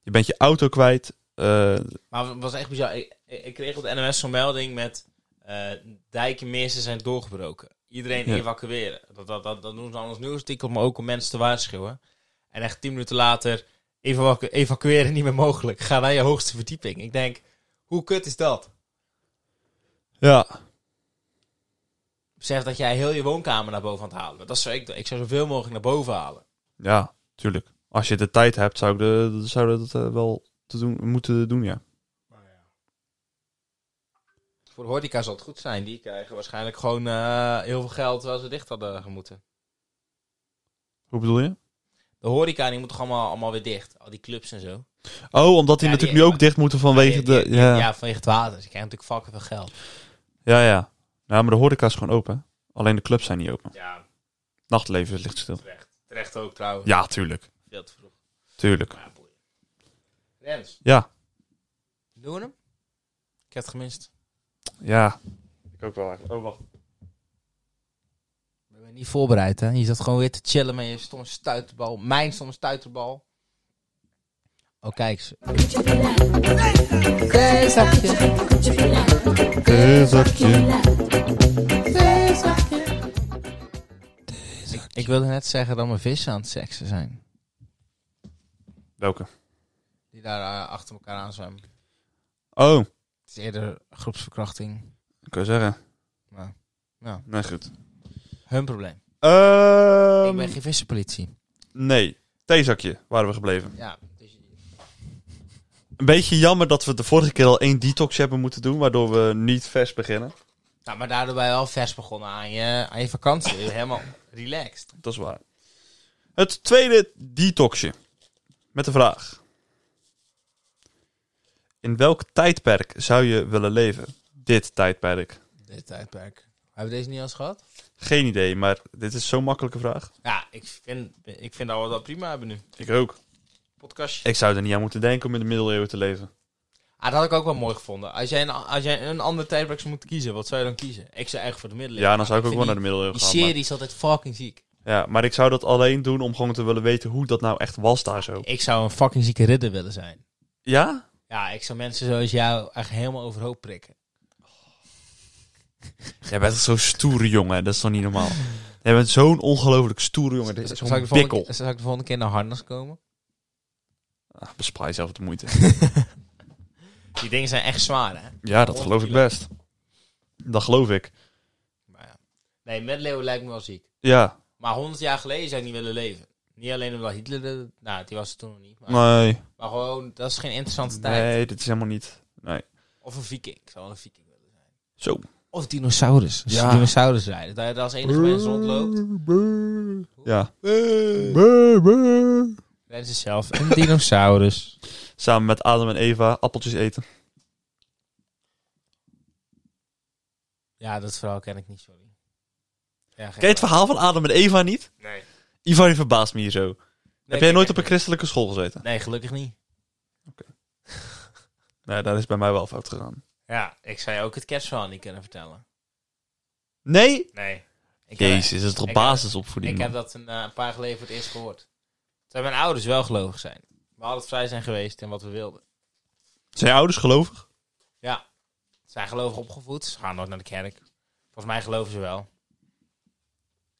[SPEAKER 2] Je bent je auto kwijt. Eh,
[SPEAKER 1] Maar het was echt bizar. Ik, ik ik kreeg op de NMS zo'n melding met... eh dijken meesten zijn doorgebroken. Iedereen
[SPEAKER 2] Ja.
[SPEAKER 1] evacueren. Dat, dat, dat, dat doen ze anders nieuwsartikel, maar ook om mensen te waarschuwen. En echt tien minuten later... evacu- evacueren niet meer mogelijk. Ga naar je hoogste verdieping. Ik denk, hoe kut is dat?
[SPEAKER 2] ja,
[SPEAKER 1] Besef dat jij heel je woonkamer naar boven aan het halen bent. Dat zou ik, doen. ik zou zoveel mogelijk naar boven halen.
[SPEAKER 2] ja, tuurlijk. Als je de tijd hebt, zou ik de, zou je dat eh, wel te doen, moeten doen, ja.
[SPEAKER 1] Voor de horeca zal het goed zijn. Die krijgen waarschijnlijk gewoon eh, heel veel geld terwijl ze dicht hadden gemoeten.
[SPEAKER 2] Hoe bedoel je?
[SPEAKER 1] De horeca die moet toch allemaal, allemaal weer dicht? Al die clubs en zo.
[SPEAKER 2] Oh, omdat die
[SPEAKER 1] Ja, die-
[SPEAKER 2] natuurlijk nu ook dicht moeten vanwege
[SPEAKER 1] die-
[SPEAKER 2] de...
[SPEAKER 1] die-
[SPEAKER 2] Ja, ja,
[SPEAKER 1] Ja, vanwege het water. Ze krijgen natuurlijk fucking veel geld.
[SPEAKER 2] ja. Nou, maar de horeca is gewoon open. Alleen de clubs zijn niet open.
[SPEAKER 1] Ja,
[SPEAKER 2] Nachtleven ligt stil.
[SPEAKER 1] terecht. Terecht ook trouwens.
[SPEAKER 2] Ja, tuurlijk.
[SPEAKER 1] Veel te vroeg.
[SPEAKER 2] Tuurlijk.
[SPEAKER 1] Maar boeien. Rens,
[SPEAKER 2] Ja,
[SPEAKER 1] doen we hem? Ik heb het gemist.
[SPEAKER 2] ja. Ik ook wel eigenlijk. Oh, wacht.
[SPEAKER 1] We zijn niet voorbereid, hè? Je zat gewoon weer te chillen met je stomme stuiterbal. Mijn stomme stuiterbal. Oh, kijk ze. Theezakje. Ik, ik wilde net zeggen dat mijn vissen aan het seksen zijn.
[SPEAKER 2] Welke?
[SPEAKER 1] Die daar eh, achter elkaar aan zwemmen.
[SPEAKER 2] Oh,
[SPEAKER 1] Het is eerder groepsverkrachting.
[SPEAKER 2] ik je zeggen.
[SPEAKER 1] Maar, nou,
[SPEAKER 2] Nee, goed.
[SPEAKER 1] hun probleem.
[SPEAKER 2] Ehm,
[SPEAKER 1] ik ben geen vissenpolitie.
[SPEAKER 2] Nee, theezakje waren we gebleven.
[SPEAKER 1] Ja, dus je-
[SPEAKER 2] Een beetje jammer dat we de vorige keer al één detox hebben moeten doen, waardoor we niet vers beginnen.
[SPEAKER 1] nou, maar daardoor ben je wel vers begonnen aan je, aan je vakantie. Je bent Helemaal relaxed.
[SPEAKER 2] Dat is waar. Het tweede detoxje. Met de vraag. In welk tijdperk zou je willen leven? Dit tijdperk.
[SPEAKER 1] Dit tijdperk. Hebben we deze niet eens gehad?
[SPEAKER 2] Geen idee, maar dit is zo'n makkelijke vraag.
[SPEAKER 1] Ja, ik vind, ik vind dat we dat prima hebben nu.
[SPEAKER 2] Ik ook.
[SPEAKER 1] Podcastje.
[SPEAKER 2] Ik zou er niet aan moeten denken om in de middeleeuwen te leven.
[SPEAKER 1] Ah, dat had ik ook wel mooi gevonden. Als jij een, als jij een ander tijdperk zou moeten kiezen, wat zou je dan kiezen? Ik zou echt voor de middeleeuwen.
[SPEAKER 2] Ja, dan zou ik ook wel
[SPEAKER 1] vind
[SPEAKER 2] naar de middeleeuwen
[SPEAKER 1] Die
[SPEAKER 2] gaan.
[SPEAKER 1] serie is altijd fucking ziek.
[SPEAKER 2] Maar, ja, maar ik zou dat alleen doen om gewoon te willen weten hoe dat nou echt was daar zo.
[SPEAKER 1] Ik zou een fucking zieke ridder willen zijn.
[SPEAKER 2] Ja?
[SPEAKER 1] Ja, ik zou mensen zoals jou echt helemaal overhoop prikken.
[SPEAKER 2] Jij bent zo'n stoere jongen, dat is toch niet [laughs] normaal? Jij bent zo'n ongelooflijk stoere jongen. Dit is
[SPEAKER 1] Zou ik,
[SPEAKER 2] zo'n
[SPEAKER 1] de volgende,
[SPEAKER 2] pikkel.
[SPEAKER 1] keer- zou ik de volgende keer naar harnas komen?
[SPEAKER 2] Ah, bespaar jezelf de moeite. [laughs]
[SPEAKER 1] Die dingen zijn echt zwaar, hè?
[SPEAKER 2] Ja, dat geloof ik best. Dat geloof ik.
[SPEAKER 1] Maar ja. Nee, middeleeuwen lijkt me wel ziek.
[SPEAKER 2] Ja.
[SPEAKER 1] Maar 100 jaar geleden zou ik niet willen leven. Niet alleen omdat Hitler... de- nou, die was er toen nog niet. Maar,
[SPEAKER 2] Nee.
[SPEAKER 1] maar gewoon, dat is geen interessante tijd.
[SPEAKER 2] Nee, dit is helemaal niet. Nee.
[SPEAKER 1] Of een viking. Ik zou wel een viking willen zijn.
[SPEAKER 2] Zo.
[SPEAKER 1] Of dinosaurus. Als
[SPEAKER 2] Ja.
[SPEAKER 1] je dinosaurus rijden. Dat je daar als enige mens rondloopt.
[SPEAKER 2] Ja.
[SPEAKER 1] Rens is zelf een dinosaurus.
[SPEAKER 2] Samen met Adam en Eva appeltjes eten.
[SPEAKER 1] Ja, dat verhaal ken ik niet, sorry. Ja,
[SPEAKER 2] Ken je het verhaal van Adam en Eva niet?
[SPEAKER 1] Nee.
[SPEAKER 2] Ivan je verbaast me hier zo. Heb jij nooit op een christelijke school gezeten?
[SPEAKER 1] Nee, gelukkig niet.
[SPEAKER 2] Nee, daar is bij mij wel fout gegaan.
[SPEAKER 1] Ja, ik zou je ook het kerstverhaal niet kunnen vertellen.
[SPEAKER 2] Nee?
[SPEAKER 1] Nee. Ik
[SPEAKER 2] Jezus, is het
[SPEAKER 1] ik
[SPEAKER 2] toch
[SPEAKER 1] heb- Heb,
[SPEAKER 2] basisopvoeding?
[SPEAKER 1] ik heb
[SPEAKER 2] man?
[SPEAKER 1] dat een, eh, een paar jaar geleden voor het eerst gehoord. Terwijl mijn ouders wel gelovig zijn. We hadden vrij zijn geweest en wat we wilden.
[SPEAKER 2] Zijn je ouders gelovig?
[SPEAKER 1] Ja. Ze zijn gelovig opgevoed. Ze gaan nooit naar de kerk. Volgens mij geloven ze wel.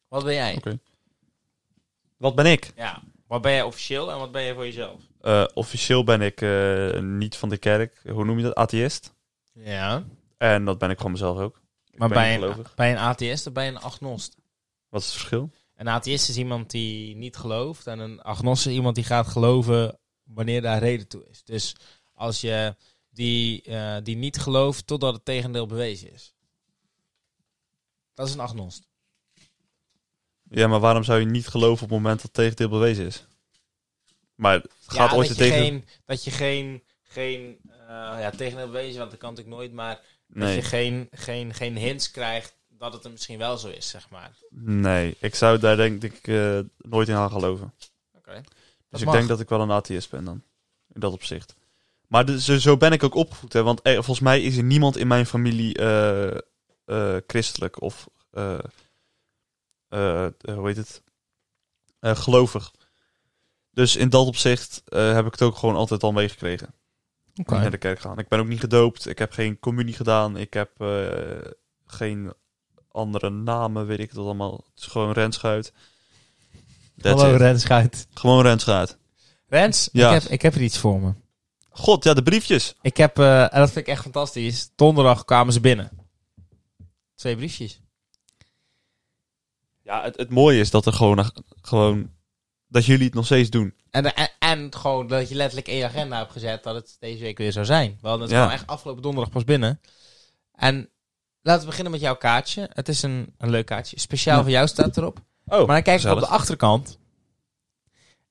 [SPEAKER 1] Wat ben jij?
[SPEAKER 2] Wat ben ik?
[SPEAKER 1] Ja. Wat ben jij officieel en wat ben jij voor jezelf?
[SPEAKER 2] Eh, officieel ben ik eh, niet van de kerk. Hoe noem je dat? Atheïst.
[SPEAKER 1] Ja.
[SPEAKER 2] En dat ben ik gewoon mezelf ook. Ik
[SPEAKER 1] Maar
[SPEAKER 2] ben
[SPEAKER 1] bij
[SPEAKER 2] niet
[SPEAKER 1] een,
[SPEAKER 2] gelovig.
[SPEAKER 1] bij een atheïst of bij een agnost?
[SPEAKER 2] Wat is het verschil?
[SPEAKER 1] Een atheïst is iemand die niet gelooft. En een agnost is iemand die gaat geloven wanneer daar reden toe is. Dus als je die, eh, die niet gelooft totdat het tegendeel bewezen is. Dat is een agnost.
[SPEAKER 2] Ja, maar waarom zou je niet geloven op het moment dat het tegendeel bewezen is? Maar het gaat
[SPEAKER 1] ja,
[SPEAKER 2] ooit
[SPEAKER 1] dat
[SPEAKER 2] het
[SPEAKER 1] je,
[SPEAKER 2] tegen...
[SPEAKER 1] geen, dat je geen, geen eh, ja, tegendeel bewezen, want dat kan natuurlijk nooit, maar dat
[SPEAKER 2] Nee,
[SPEAKER 1] je geen, geen, geen hints krijgt dat het er misschien wel zo is, zeg maar.
[SPEAKER 2] nee, ik zou daar denk ik eh, nooit in gaan geloven.
[SPEAKER 1] Oké.
[SPEAKER 2] Dus
[SPEAKER 1] Dat
[SPEAKER 2] ik
[SPEAKER 1] mag.
[SPEAKER 2] denk dat ik wel een atheïst ben dan. In dat opzicht. Maar de- zo, zo ben ik ook opgevoed. Hè, want eh, volgens mij is er niemand in mijn familie eh, eh, christelijk of... eh, eh, eh, hoe heet het? Eh, gelovig. Dus in dat opzicht eh, heb ik het ook gewoon altijd al meegekregen. naar de kerk gaan. Ik ben ook niet gedoopt. Ik heb geen communie gedaan. Ik heb eh, geen andere namen, weet ik dat allemaal. Het is gewoon Renschuit. That's it.
[SPEAKER 1] Rens Schuit.
[SPEAKER 2] Gewoon Renschuit.
[SPEAKER 1] Rens,
[SPEAKER 2] Ja.
[SPEAKER 1] ik, heb, ik heb er iets voor me.
[SPEAKER 2] God, ja, de briefjes.
[SPEAKER 1] Ik heb, eh, en dat vind ik echt fantastisch, donderdag kwamen ze binnen. Twee briefjes.
[SPEAKER 2] Ja, het, het mooie is dat er gewoon, gewoon... Dat jullie het nog steeds doen.
[SPEAKER 1] En, en, en gewoon dat je letterlijk in je agenda hebt gezet dat het deze week weer zou zijn. We hadden het
[SPEAKER 2] Ja.
[SPEAKER 1] gewoon echt afgelopen donderdag pas binnen. En laten we beginnen met jouw kaartje. Het is een, een leuk kaartje. Speciaal
[SPEAKER 2] Ja.
[SPEAKER 1] voor jou staat erop.
[SPEAKER 2] Oh,
[SPEAKER 1] maar dan kijk ik op de achterkant.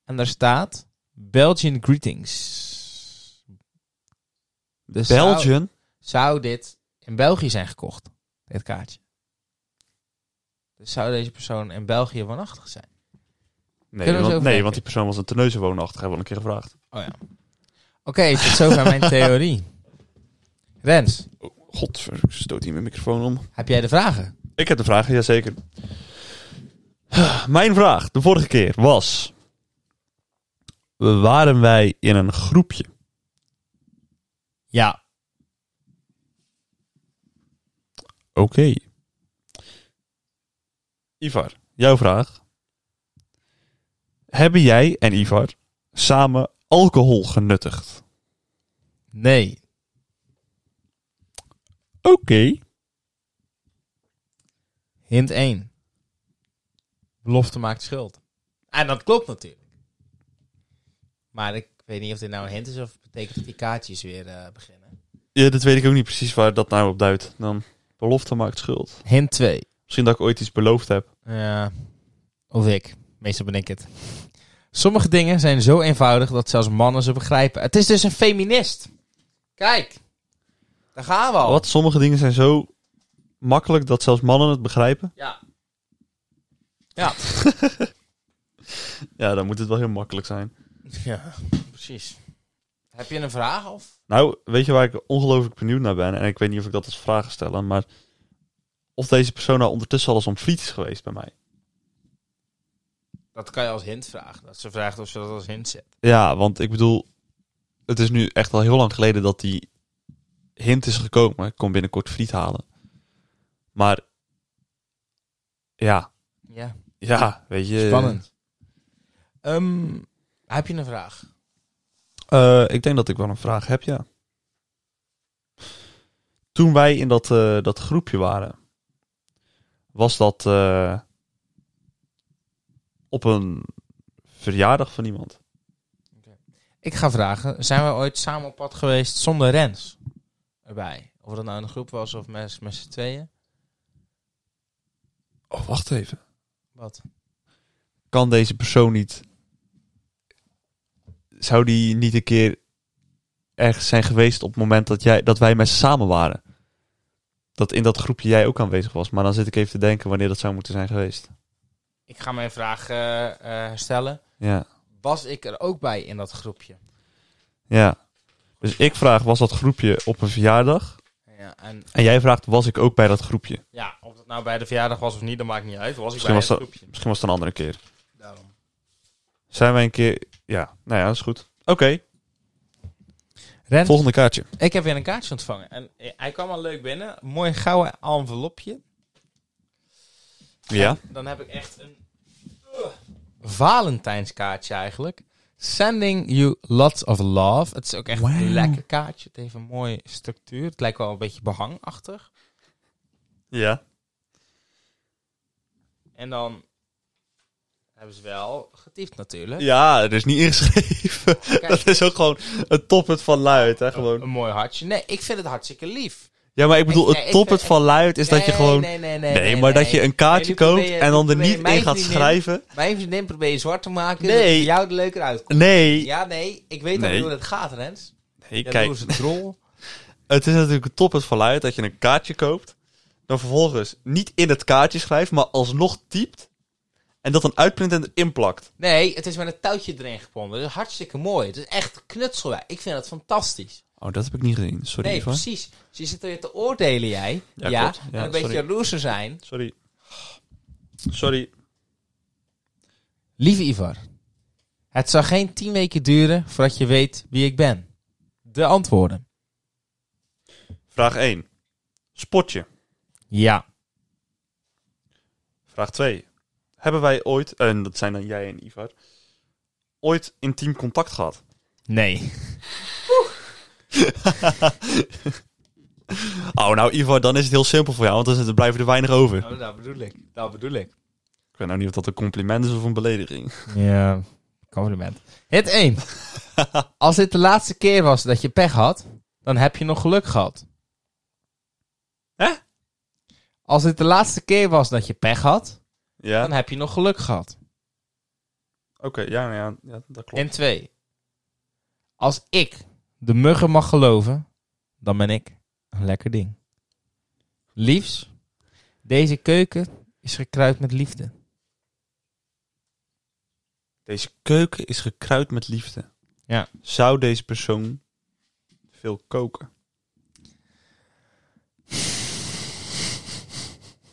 [SPEAKER 1] En daar staat Belgian greetings. Dus Zou,
[SPEAKER 2] Belgian?
[SPEAKER 1] zou dit in België zijn gekocht? Dit kaartje. Dus zou deze persoon in België woonachtig zijn?
[SPEAKER 2] Nee,
[SPEAKER 1] Kunnen we zo
[SPEAKER 2] want,
[SPEAKER 1] over
[SPEAKER 2] nee,
[SPEAKER 1] denken?
[SPEAKER 2] want die persoon was een teneuze woonachtig. Hebben we al een keer gevraagd.
[SPEAKER 1] Oh ja. Oké, is tot zover [laughs] mijn theorie. Rens,
[SPEAKER 2] God, ik stoot hier mijn microfoon om.
[SPEAKER 1] heb jij de vragen?
[SPEAKER 2] Ik heb een vraag, jazeker. Mijn vraag de vorige keer was... Waren wij in een groepje?
[SPEAKER 1] Ja.
[SPEAKER 2] Oké. Ivar, jouw vraag. Hebben jij en Ivar samen alcohol genuttigd?
[SPEAKER 1] Nee.
[SPEAKER 2] Oké.
[SPEAKER 1] Hint 1. Belofte maakt schuld. En dat klopt natuurlijk. Maar ik weet niet of dit nou een hint is of betekent dat die kaartjes weer eh, beginnen.
[SPEAKER 2] Ja, dat weet ik ook niet precies waar dat nou op duidt. Dan belofte maakt schuld.
[SPEAKER 1] Hint 2.
[SPEAKER 2] Misschien dat ik ooit iets beloofd heb.
[SPEAKER 1] Ja. Of ik. Meestal ben ik het. Sommige dingen zijn zo eenvoudig dat zelfs mannen ze begrijpen. Het is dus een feminist. Kijk. Daar gaan we al.
[SPEAKER 2] Wat? Sommige dingen zijn zo makkelijk dat zelfs mannen het begrijpen.
[SPEAKER 1] Ja. Ja.
[SPEAKER 2] Ja, dan moet het wel heel makkelijk zijn.
[SPEAKER 1] Ja, precies. Heb je een vraag of?
[SPEAKER 2] Nou, weet je waar ik ongelooflijk benieuwd naar ben? En ik weet niet of ik dat als vraag ga stellen, maar of deze persoon nou ondertussen al eens om friet is geweest bij mij.
[SPEAKER 1] Dat kan je als hint vragen. Dat ze vraagt of ze dat als hint zet.
[SPEAKER 2] Ja, want ik bedoel, het is nu echt al heel lang geleden dat die hint is gekomen. Ik kom binnenkort friet halen. Maar ja,
[SPEAKER 1] Ja,
[SPEAKER 2] ja, weet je.
[SPEAKER 1] spannend. Ehm, heb je een vraag?
[SPEAKER 2] Eh, ik denk dat ik wel een vraag heb, ja. Toen wij in dat, eh, dat groepje waren, was dat eh, op een verjaardag van iemand.
[SPEAKER 1] Ik ga vragen, zijn we ooit samen op pad geweest zonder Rens erbij? Of dat nou in een groep was of met, met z'n tweeën?
[SPEAKER 2] Oh, wacht even.
[SPEAKER 1] Wat?
[SPEAKER 2] Kan deze persoon niet... Zou die niet een keer ergens zijn geweest op het moment dat, jij, dat wij met ze samen waren? Dat in dat groepje jij ook aanwezig was. Maar dan zit ik even te denken wanneer dat zou moeten zijn geweest.
[SPEAKER 1] Ik ga mijn vraag eh, eh, herstellen.
[SPEAKER 2] Ja.
[SPEAKER 1] Was ik er ook bij in dat groepje?
[SPEAKER 2] Ja. Dus ik vraag, was dat groepje op een verjaardag?
[SPEAKER 1] Ja, en
[SPEAKER 2] En jij vraagt, was ik ook bij dat groepje?
[SPEAKER 1] ja, of dat nou bij de verjaardag was of niet, dat maakt niet uit. Was ik
[SPEAKER 2] Misschien
[SPEAKER 1] bij
[SPEAKER 2] was
[SPEAKER 1] het
[SPEAKER 2] dat-
[SPEAKER 1] groepje?
[SPEAKER 2] Misschien was het een andere keer.
[SPEAKER 1] Daarom.
[SPEAKER 2] Zijn wij een keer... Ja, nou ja, dat is goed. Oké,
[SPEAKER 1] Rens,
[SPEAKER 2] volgende kaartje.
[SPEAKER 1] Ik heb weer een kaartje ontvangen. En eh, hij kwam al leuk binnen. Mooi gouden envelopje.
[SPEAKER 2] Ja.
[SPEAKER 1] En dan heb ik echt een... Ugh. Valentijnskaartje eigenlijk. Sending you lots of love. Het is ook echt een lekker kaartje. Het heeft een mooie structuur. Het lijkt wel een beetje behangachtig.
[SPEAKER 2] Ja.
[SPEAKER 1] En dan eh, Hebben ze wel getiefd natuurlijk.
[SPEAKER 2] Ja, er is niet ingeschreven. [laughs] Dat is ook gewoon het toppunt van luid, hè, gewoon.
[SPEAKER 1] Een mooi hartje. Nee, ik vind het hartstikke lief.
[SPEAKER 2] Ja, maar ik bedoel,
[SPEAKER 1] Ik- nee,
[SPEAKER 2] het
[SPEAKER 1] ik
[SPEAKER 2] toppunt
[SPEAKER 1] vind-
[SPEAKER 2] van luid is dat je
[SPEAKER 1] Nee,
[SPEAKER 2] gewoon...
[SPEAKER 1] Nee, nee, nee.
[SPEAKER 2] Nee, maar dat je een kaartje
[SPEAKER 1] Nee, nu probeer
[SPEAKER 2] koopt
[SPEAKER 1] je-
[SPEAKER 2] en dan er
[SPEAKER 1] probeer je
[SPEAKER 2] niet
[SPEAKER 1] mijn
[SPEAKER 2] in gaat
[SPEAKER 1] vriendin-
[SPEAKER 2] schrijven.
[SPEAKER 1] Mijn vriendin probeer je zwart te maken.
[SPEAKER 2] Nee.
[SPEAKER 1] Nee. Dat het voor jou er leuker uitkomt.
[SPEAKER 2] Nee,
[SPEAKER 1] Ja, nee. Ik weet
[SPEAKER 2] Nee.
[SPEAKER 1] al hoe het gaat, Rens.
[SPEAKER 2] nee
[SPEAKER 1] Ja,
[SPEAKER 2] kijk,
[SPEAKER 1] Doe eens een drol.
[SPEAKER 2] het is natuurlijk het toppunt van luid dat je een kaartje koopt. Dan vervolgens niet in het kaartje schrijft, maar alsnog typt. En dat dan uitprint en erin plakt.
[SPEAKER 1] Nee, het is met een touwtje erin gebonden. Dat is hartstikke mooi. Het is echt knutselwerk. Ik vind dat fantastisch.
[SPEAKER 2] Oh, dat heb ik niet gezien. Sorry,
[SPEAKER 1] nee,
[SPEAKER 2] Ivan.
[SPEAKER 1] precies. Dus je zit er weer te oordelen, jij.
[SPEAKER 2] Ja,
[SPEAKER 1] Ja,
[SPEAKER 2] klopt. Ja,
[SPEAKER 1] en een beetje
[SPEAKER 2] sorry.
[SPEAKER 1] jaloers te zijn.
[SPEAKER 2] Sorry. Sorry.
[SPEAKER 1] Lieve Ivar, het zal geen tien weken duren voordat je weet wie ik ben. De antwoorden.
[SPEAKER 2] Vraag 1. Spotje.
[SPEAKER 1] Ja.
[SPEAKER 2] Vraag 2. Hebben wij ooit, en dat zijn dan jij en Ivar, ooit intiem contact gehad?
[SPEAKER 1] Nee.
[SPEAKER 2] Oh, nou Ivar, dan is het heel simpel voor jou, want dan zit- blijven er weinig over.
[SPEAKER 1] Nou, dat bedoel ik. Dat bedoel ik.
[SPEAKER 2] Ik weet nou niet of dat een compliment is of een belediging.
[SPEAKER 1] Ja, compliment. Hit [laughs] 1. Als dit de laatste keer was dat je pech had, dan heb je nog geluk gehad.
[SPEAKER 2] Hè?
[SPEAKER 1] Als dit de laatste keer was dat je pech had,
[SPEAKER 2] Ja,
[SPEAKER 1] dan heb je nog geluk gehad.
[SPEAKER 2] oké, ja, nou ja, ja, dat klopt.
[SPEAKER 1] En 2. Als ik de muggen mag geloven, dan ben ik een lekker ding. Liefs, deze keuken is gekruid met liefde.
[SPEAKER 2] Deze keuken is gekruid met liefde.
[SPEAKER 1] Ja.
[SPEAKER 2] Zou deze persoon veel koken?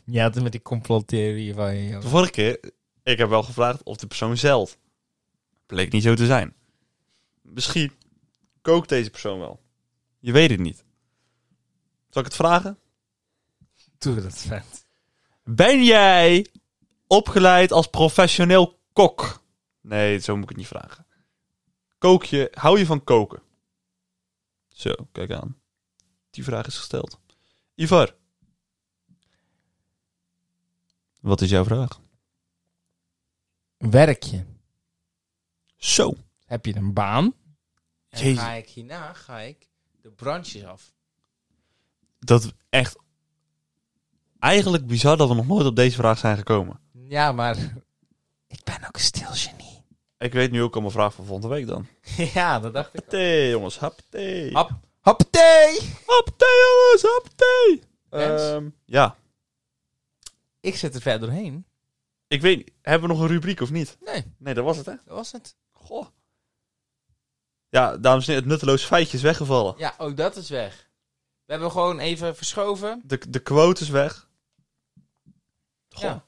[SPEAKER 1] Ja, het is met die complottheorie van je.
[SPEAKER 2] De vorige keer, ik heb wel gevraagd of de persoon zelf. Bleek niet zo te zijn. Misschien kookt deze persoon wel. Je weet het niet. Zal ik het vragen?
[SPEAKER 1] Doe dat vet.
[SPEAKER 2] Ben jij opgeleid als professioneel kok? Nee, zo moet ik het niet vragen. Kook je, hou je van koken? Zo, kijk aan. Die vraag is gesteld. Ivar. Wat is jouw vraag?
[SPEAKER 1] Werk je?
[SPEAKER 2] Zo.
[SPEAKER 1] Heb je een baan? En
[SPEAKER 2] Jezus.
[SPEAKER 1] ga ik hierna, ga ik de branches af.
[SPEAKER 2] Dat echt. Eigenlijk bizar dat we nog nooit op deze vraag zijn gekomen.
[SPEAKER 1] Ja, maar [laughs] ik ben ook een stil genie.
[SPEAKER 2] Ik weet nu ook al mijn vraag van volgende week dan.
[SPEAKER 1] [laughs] ja, dat dacht ik. al.
[SPEAKER 2] Thee, jongens. Hap thee.
[SPEAKER 1] Hap, hoppatee!
[SPEAKER 2] Hap thee, jongens. Hap thee.
[SPEAKER 1] Rens?
[SPEAKER 2] Ehm, ja.
[SPEAKER 1] Ik zit er verder doorheen.
[SPEAKER 2] Ik weet niet, hebben we nog een rubriek of niet?
[SPEAKER 1] Nee,
[SPEAKER 2] Nee, dat was het, hè?
[SPEAKER 1] dat was het.
[SPEAKER 2] Goh. Ja, dames en heren, het nutteloos feitje is weggevallen.
[SPEAKER 1] Ja, ook dat is weg. We hebben gewoon even verschoven.
[SPEAKER 2] De, de quote is weg. Goh.
[SPEAKER 1] Ja.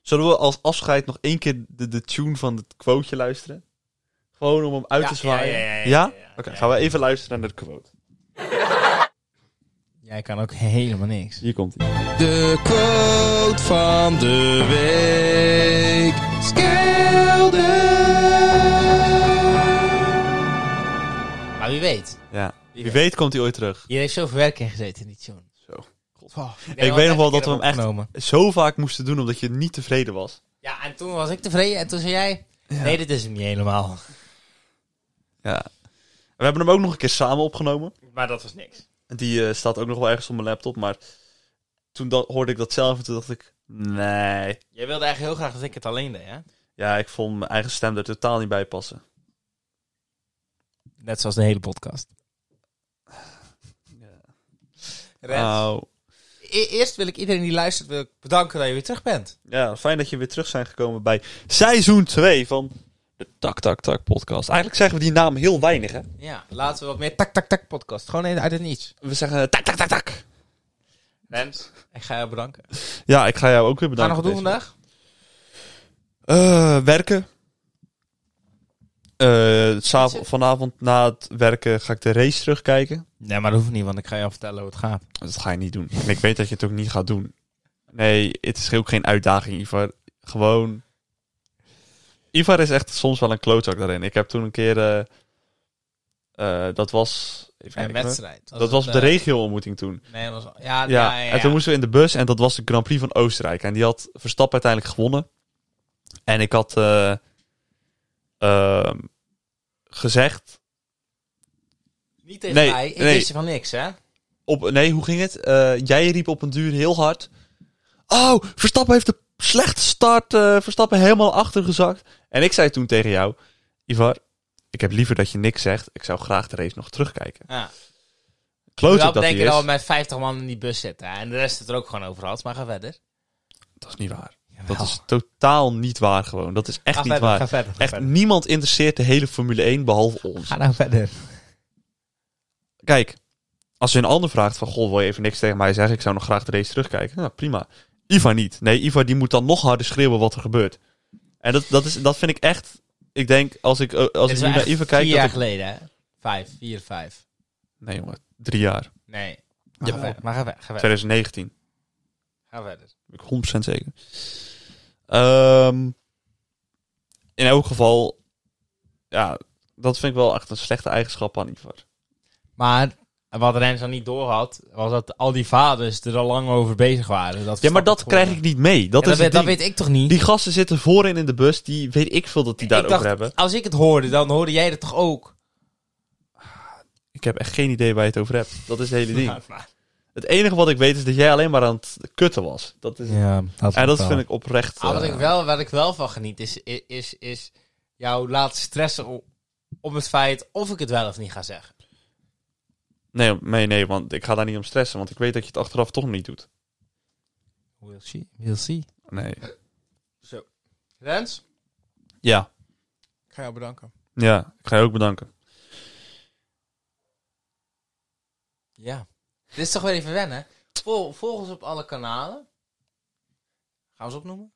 [SPEAKER 2] Zullen we als afscheid nog één keer de, de tune van het quoteje luisteren? Gewoon om hem uit te zwaaien. Ja? Oké, gaan we even luisteren naar de quote.
[SPEAKER 1] Jij kan ook helemaal niks.
[SPEAKER 2] Hier komt hij.
[SPEAKER 1] De quote van de week. Skelder. Maar wie weet.
[SPEAKER 2] Ja.
[SPEAKER 1] Wie
[SPEAKER 2] Wie weet komt hij ooit terug.
[SPEAKER 1] Hier heeft zoveel werk in gezeten in die tune. Oh,
[SPEAKER 2] Zo.
[SPEAKER 1] ik
[SPEAKER 2] weet nog wel dat we hem echt-
[SPEAKER 1] Opgenomen.
[SPEAKER 2] Zo vaak moesten doen omdat je niet tevreden was.
[SPEAKER 1] Ja, en toen was ik tevreden en toen zei jij... Nee, dit is hem niet helemaal.
[SPEAKER 2] Ja. We hebben hem ook nog een keer samen opgenomen.
[SPEAKER 1] Maar dat was niks.
[SPEAKER 2] Die eh, staat ook nog wel ergens op mijn laptop, maar toen dat, hoorde ik dat zelf en toen dacht ik, nee.
[SPEAKER 1] Jij wilde eigenlijk heel graag dat ik het alleen deed, hè?
[SPEAKER 2] Ja, ik vond mijn eigen stem er totaal niet bij passen.
[SPEAKER 1] Net zoals de hele podcast.
[SPEAKER 2] Ja.
[SPEAKER 1] Rens,
[SPEAKER 2] Nou,
[SPEAKER 1] Eh, e- eerst wil ik iedereen die luistert wil ik bedanken dat je weer terug bent.
[SPEAKER 2] ja, fijn dat je weer terug zijn gekomen bij seizoen 2 van de Tak Tak Tak podcast. Eigenlijk zeggen we die naam heel weinig, hè?
[SPEAKER 1] Ja, laten we wat meer tak-tak-tak podcast. Gewoon een- uit het niets.
[SPEAKER 2] We zeggen eh, Tak Tak Tak Tak.
[SPEAKER 1] Rens, ik ga jou bedanken. Wat
[SPEAKER 2] Ja, ik ga jou ook weer
[SPEAKER 1] gaan we
[SPEAKER 2] bedanken.
[SPEAKER 1] nog doen
[SPEAKER 2] voor deze
[SPEAKER 1] vandaag?
[SPEAKER 2] week. Eh, werken. Eh, s'av- vanavond na het werken ga ik de race terugkijken.
[SPEAKER 1] Nee, maar dat hoeft niet, want ik ga jou vertellen hoe het gaat.
[SPEAKER 2] Dat ga je niet doen. En ik weet dat je het ook niet gaat doen. Nee, het is ook geen uitdaging, Ivar. Gewoon. Ivar is echt soms wel een klootzak daarin. Ik heb toen een keer. eh, eh, dat was. Even
[SPEAKER 1] Een
[SPEAKER 2] kijken, hoor.
[SPEAKER 1] wedstrijd.
[SPEAKER 2] Dat was op de
[SPEAKER 1] eh,
[SPEAKER 2] regio-ontmoeting toen.
[SPEAKER 1] Nee, dat was... Ja, ja,
[SPEAKER 2] Ja,
[SPEAKER 1] ja,
[SPEAKER 2] en toen moesten we in de bus en dat was de Grand Prix van Oostenrijk. En die had Verstappen uiteindelijk gewonnen. En ik had eh, ehm, gezegd.
[SPEAKER 1] Niet tegen
[SPEAKER 2] Nee,
[SPEAKER 1] mij. Ik
[SPEAKER 2] nee.
[SPEAKER 1] wist je van niks, hè?
[SPEAKER 2] Op, nee, hoe ging het? Eh, jij riep op een duur heel hard. Oh, Verstappen heeft een slechte start. eh, Verstappen helemaal achtergezakt. En ik zei toen tegen jou: Ivar, ik heb liever dat je niks zegt. Ik zou graag de race nog terugkijken.
[SPEAKER 1] Ja.
[SPEAKER 2] Kloot
[SPEAKER 1] wel
[SPEAKER 2] dat hij
[SPEAKER 1] bedenken dat
[SPEAKER 2] is.
[SPEAKER 1] we met 50 man in die bus zitten. hè, En de rest het er ook gewoon over had. Maar ga verder.
[SPEAKER 2] Dat is niet waar.
[SPEAKER 1] Jawel.
[SPEAKER 2] Dat is totaal niet waar gewoon. Dat is echt
[SPEAKER 1] ga
[SPEAKER 2] niet
[SPEAKER 1] verder,
[SPEAKER 2] waar.
[SPEAKER 1] Ga verder. Ga,
[SPEAKER 2] Echt
[SPEAKER 1] verder.
[SPEAKER 2] niemand interesseert de hele Formule 1 behalve ons.
[SPEAKER 1] Ga nou verder.
[SPEAKER 2] Kijk, als je een ander vraagt van... Goh, wil je even niks tegen mij zeggen? Ik zou nog graag de race terugkijken. Nou, prima. Iva niet. Nee, Iva die moet dan nog harder schreeuwen wat er gebeurt. En dat, dat, is, dat vind ik echt... Ik denk, als ik, eh, als
[SPEAKER 1] Dit
[SPEAKER 2] ik
[SPEAKER 1] is
[SPEAKER 2] nu
[SPEAKER 1] wel
[SPEAKER 2] naar
[SPEAKER 1] echt
[SPEAKER 2] Iva kijk...
[SPEAKER 1] Vier
[SPEAKER 2] Dat
[SPEAKER 1] jaar
[SPEAKER 2] ik-
[SPEAKER 1] geleden, hè? Vijf, vier, vijf.
[SPEAKER 2] Nee jongen, drie jaar.
[SPEAKER 1] Nee. Maar,
[SPEAKER 2] Jawel.
[SPEAKER 1] ga verder, maar ga verder. Ga verder.
[SPEAKER 2] 2019.
[SPEAKER 1] Ga verder.
[SPEAKER 2] Ben ik 100% zeker. Ehm, in elk geval... Ja, dat vind ik wel echt een slechte eigenschap aan Ivar.
[SPEAKER 1] Maar wat Rens dan niet door had, was dat al die vaders er al lang over bezig waren. Dat
[SPEAKER 2] Ja, maar dat krijg ik niet mee. Dat
[SPEAKER 1] Dat,
[SPEAKER 2] is
[SPEAKER 1] weet,
[SPEAKER 2] het
[SPEAKER 1] dat
[SPEAKER 2] ding.
[SPEAKER 1] weet ik toch niet?
[SPEAKER 2] Die gasten zitten voorin in de bus. Die weet ik veel dat die
[SPEAKER 1] Ik
[SPEAKER 2] daarover
[SPEAKER 1] dacht-
[SPEAKER 2] hebben.
[SPEAKER 1] Als ik het hoorde, dan hoorde jij dat toch ook?
[SPEAKER 2] Ik heb echt geen idee waar je het over hebt. Dat is het hele ding. Het enige wat ik weet is dat jij alleen maar aan het kutten was. Dat is...
[SPEAKER 1] Ja, dat,
[SPEAKER 2] En dat vind ik oprecht.
[SPEAKER 1] Ah, wat,
[SPEAKER 2] eh,
[SPEAKER 1] ik wel, wat ik wel van geniet is, i- is, is jou laten stressen o- om het feit of ik het wel of niet ga zeggen.
[SPEAKER 2] nee, nee, nee, want ik ga daar niet om stressen. Want ik weet dat je het achteraf toch niet doet.
[SPEAKER 1] We'll see. We'll see.
[SPEAKER 2] Nee.
[SPEAKER 1] Rens?
[SPEAKER 2] Ja,
[SPEAKER 4] Ik ga jou bedanken.
[SPEAKER 2] ja. Ik ga je ook bedanken.
[SPEAKER 1] Ja. Dit is toch weer even wennen. Vol, volg ons op alle kanalen. Gaan we ze opnoemen?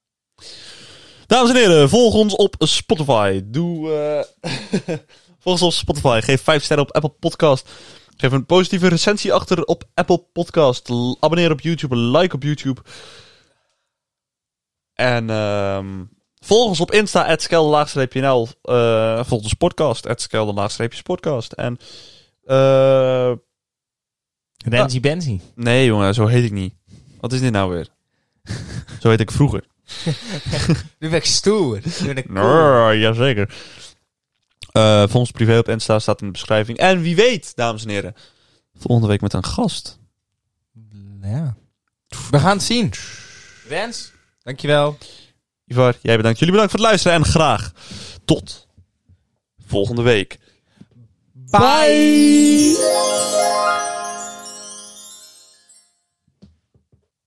[SPEAKER 2] Dames en heren, volg ons op Spotify. Doe. eh, [laughs] volg ons op Spotify. Geef 5 sterren op Apple Podcast. Geef een positieve recensie achter op Apple Podcast. L- Abonneer op YouTube. Like op YouTube. En ehm, volg ons op Insta, at skelderlaagstreepje.nl. Eh, volg ons podcast, at skelderlaagstreepjespodcast. En. eh, Rensie
[SPEAKER 1] Benzie.
[SPEAKER 2] nee, jongen, zo heet ik niet. Wat is dit nou weer? [laughs] zo heet ik vroeger.
[SPEAKER 1] Nu ben ik stoer. Nu ben ik cool.
[SPEAKER 2] Ja, jazeker. Eh volg ons privé op Insta staat in de beschrijving. En wie weet, dames en heren, volgende week met een gast.
[SPEAKER 1] Ja. We gaan het zien. Rens, dankjewel.
[SPEAKER 2] Ivar, jij bedankt. Jullie bedankt voor het luisteren en graag tot volgende week.
[SPEAKER 1] Bye.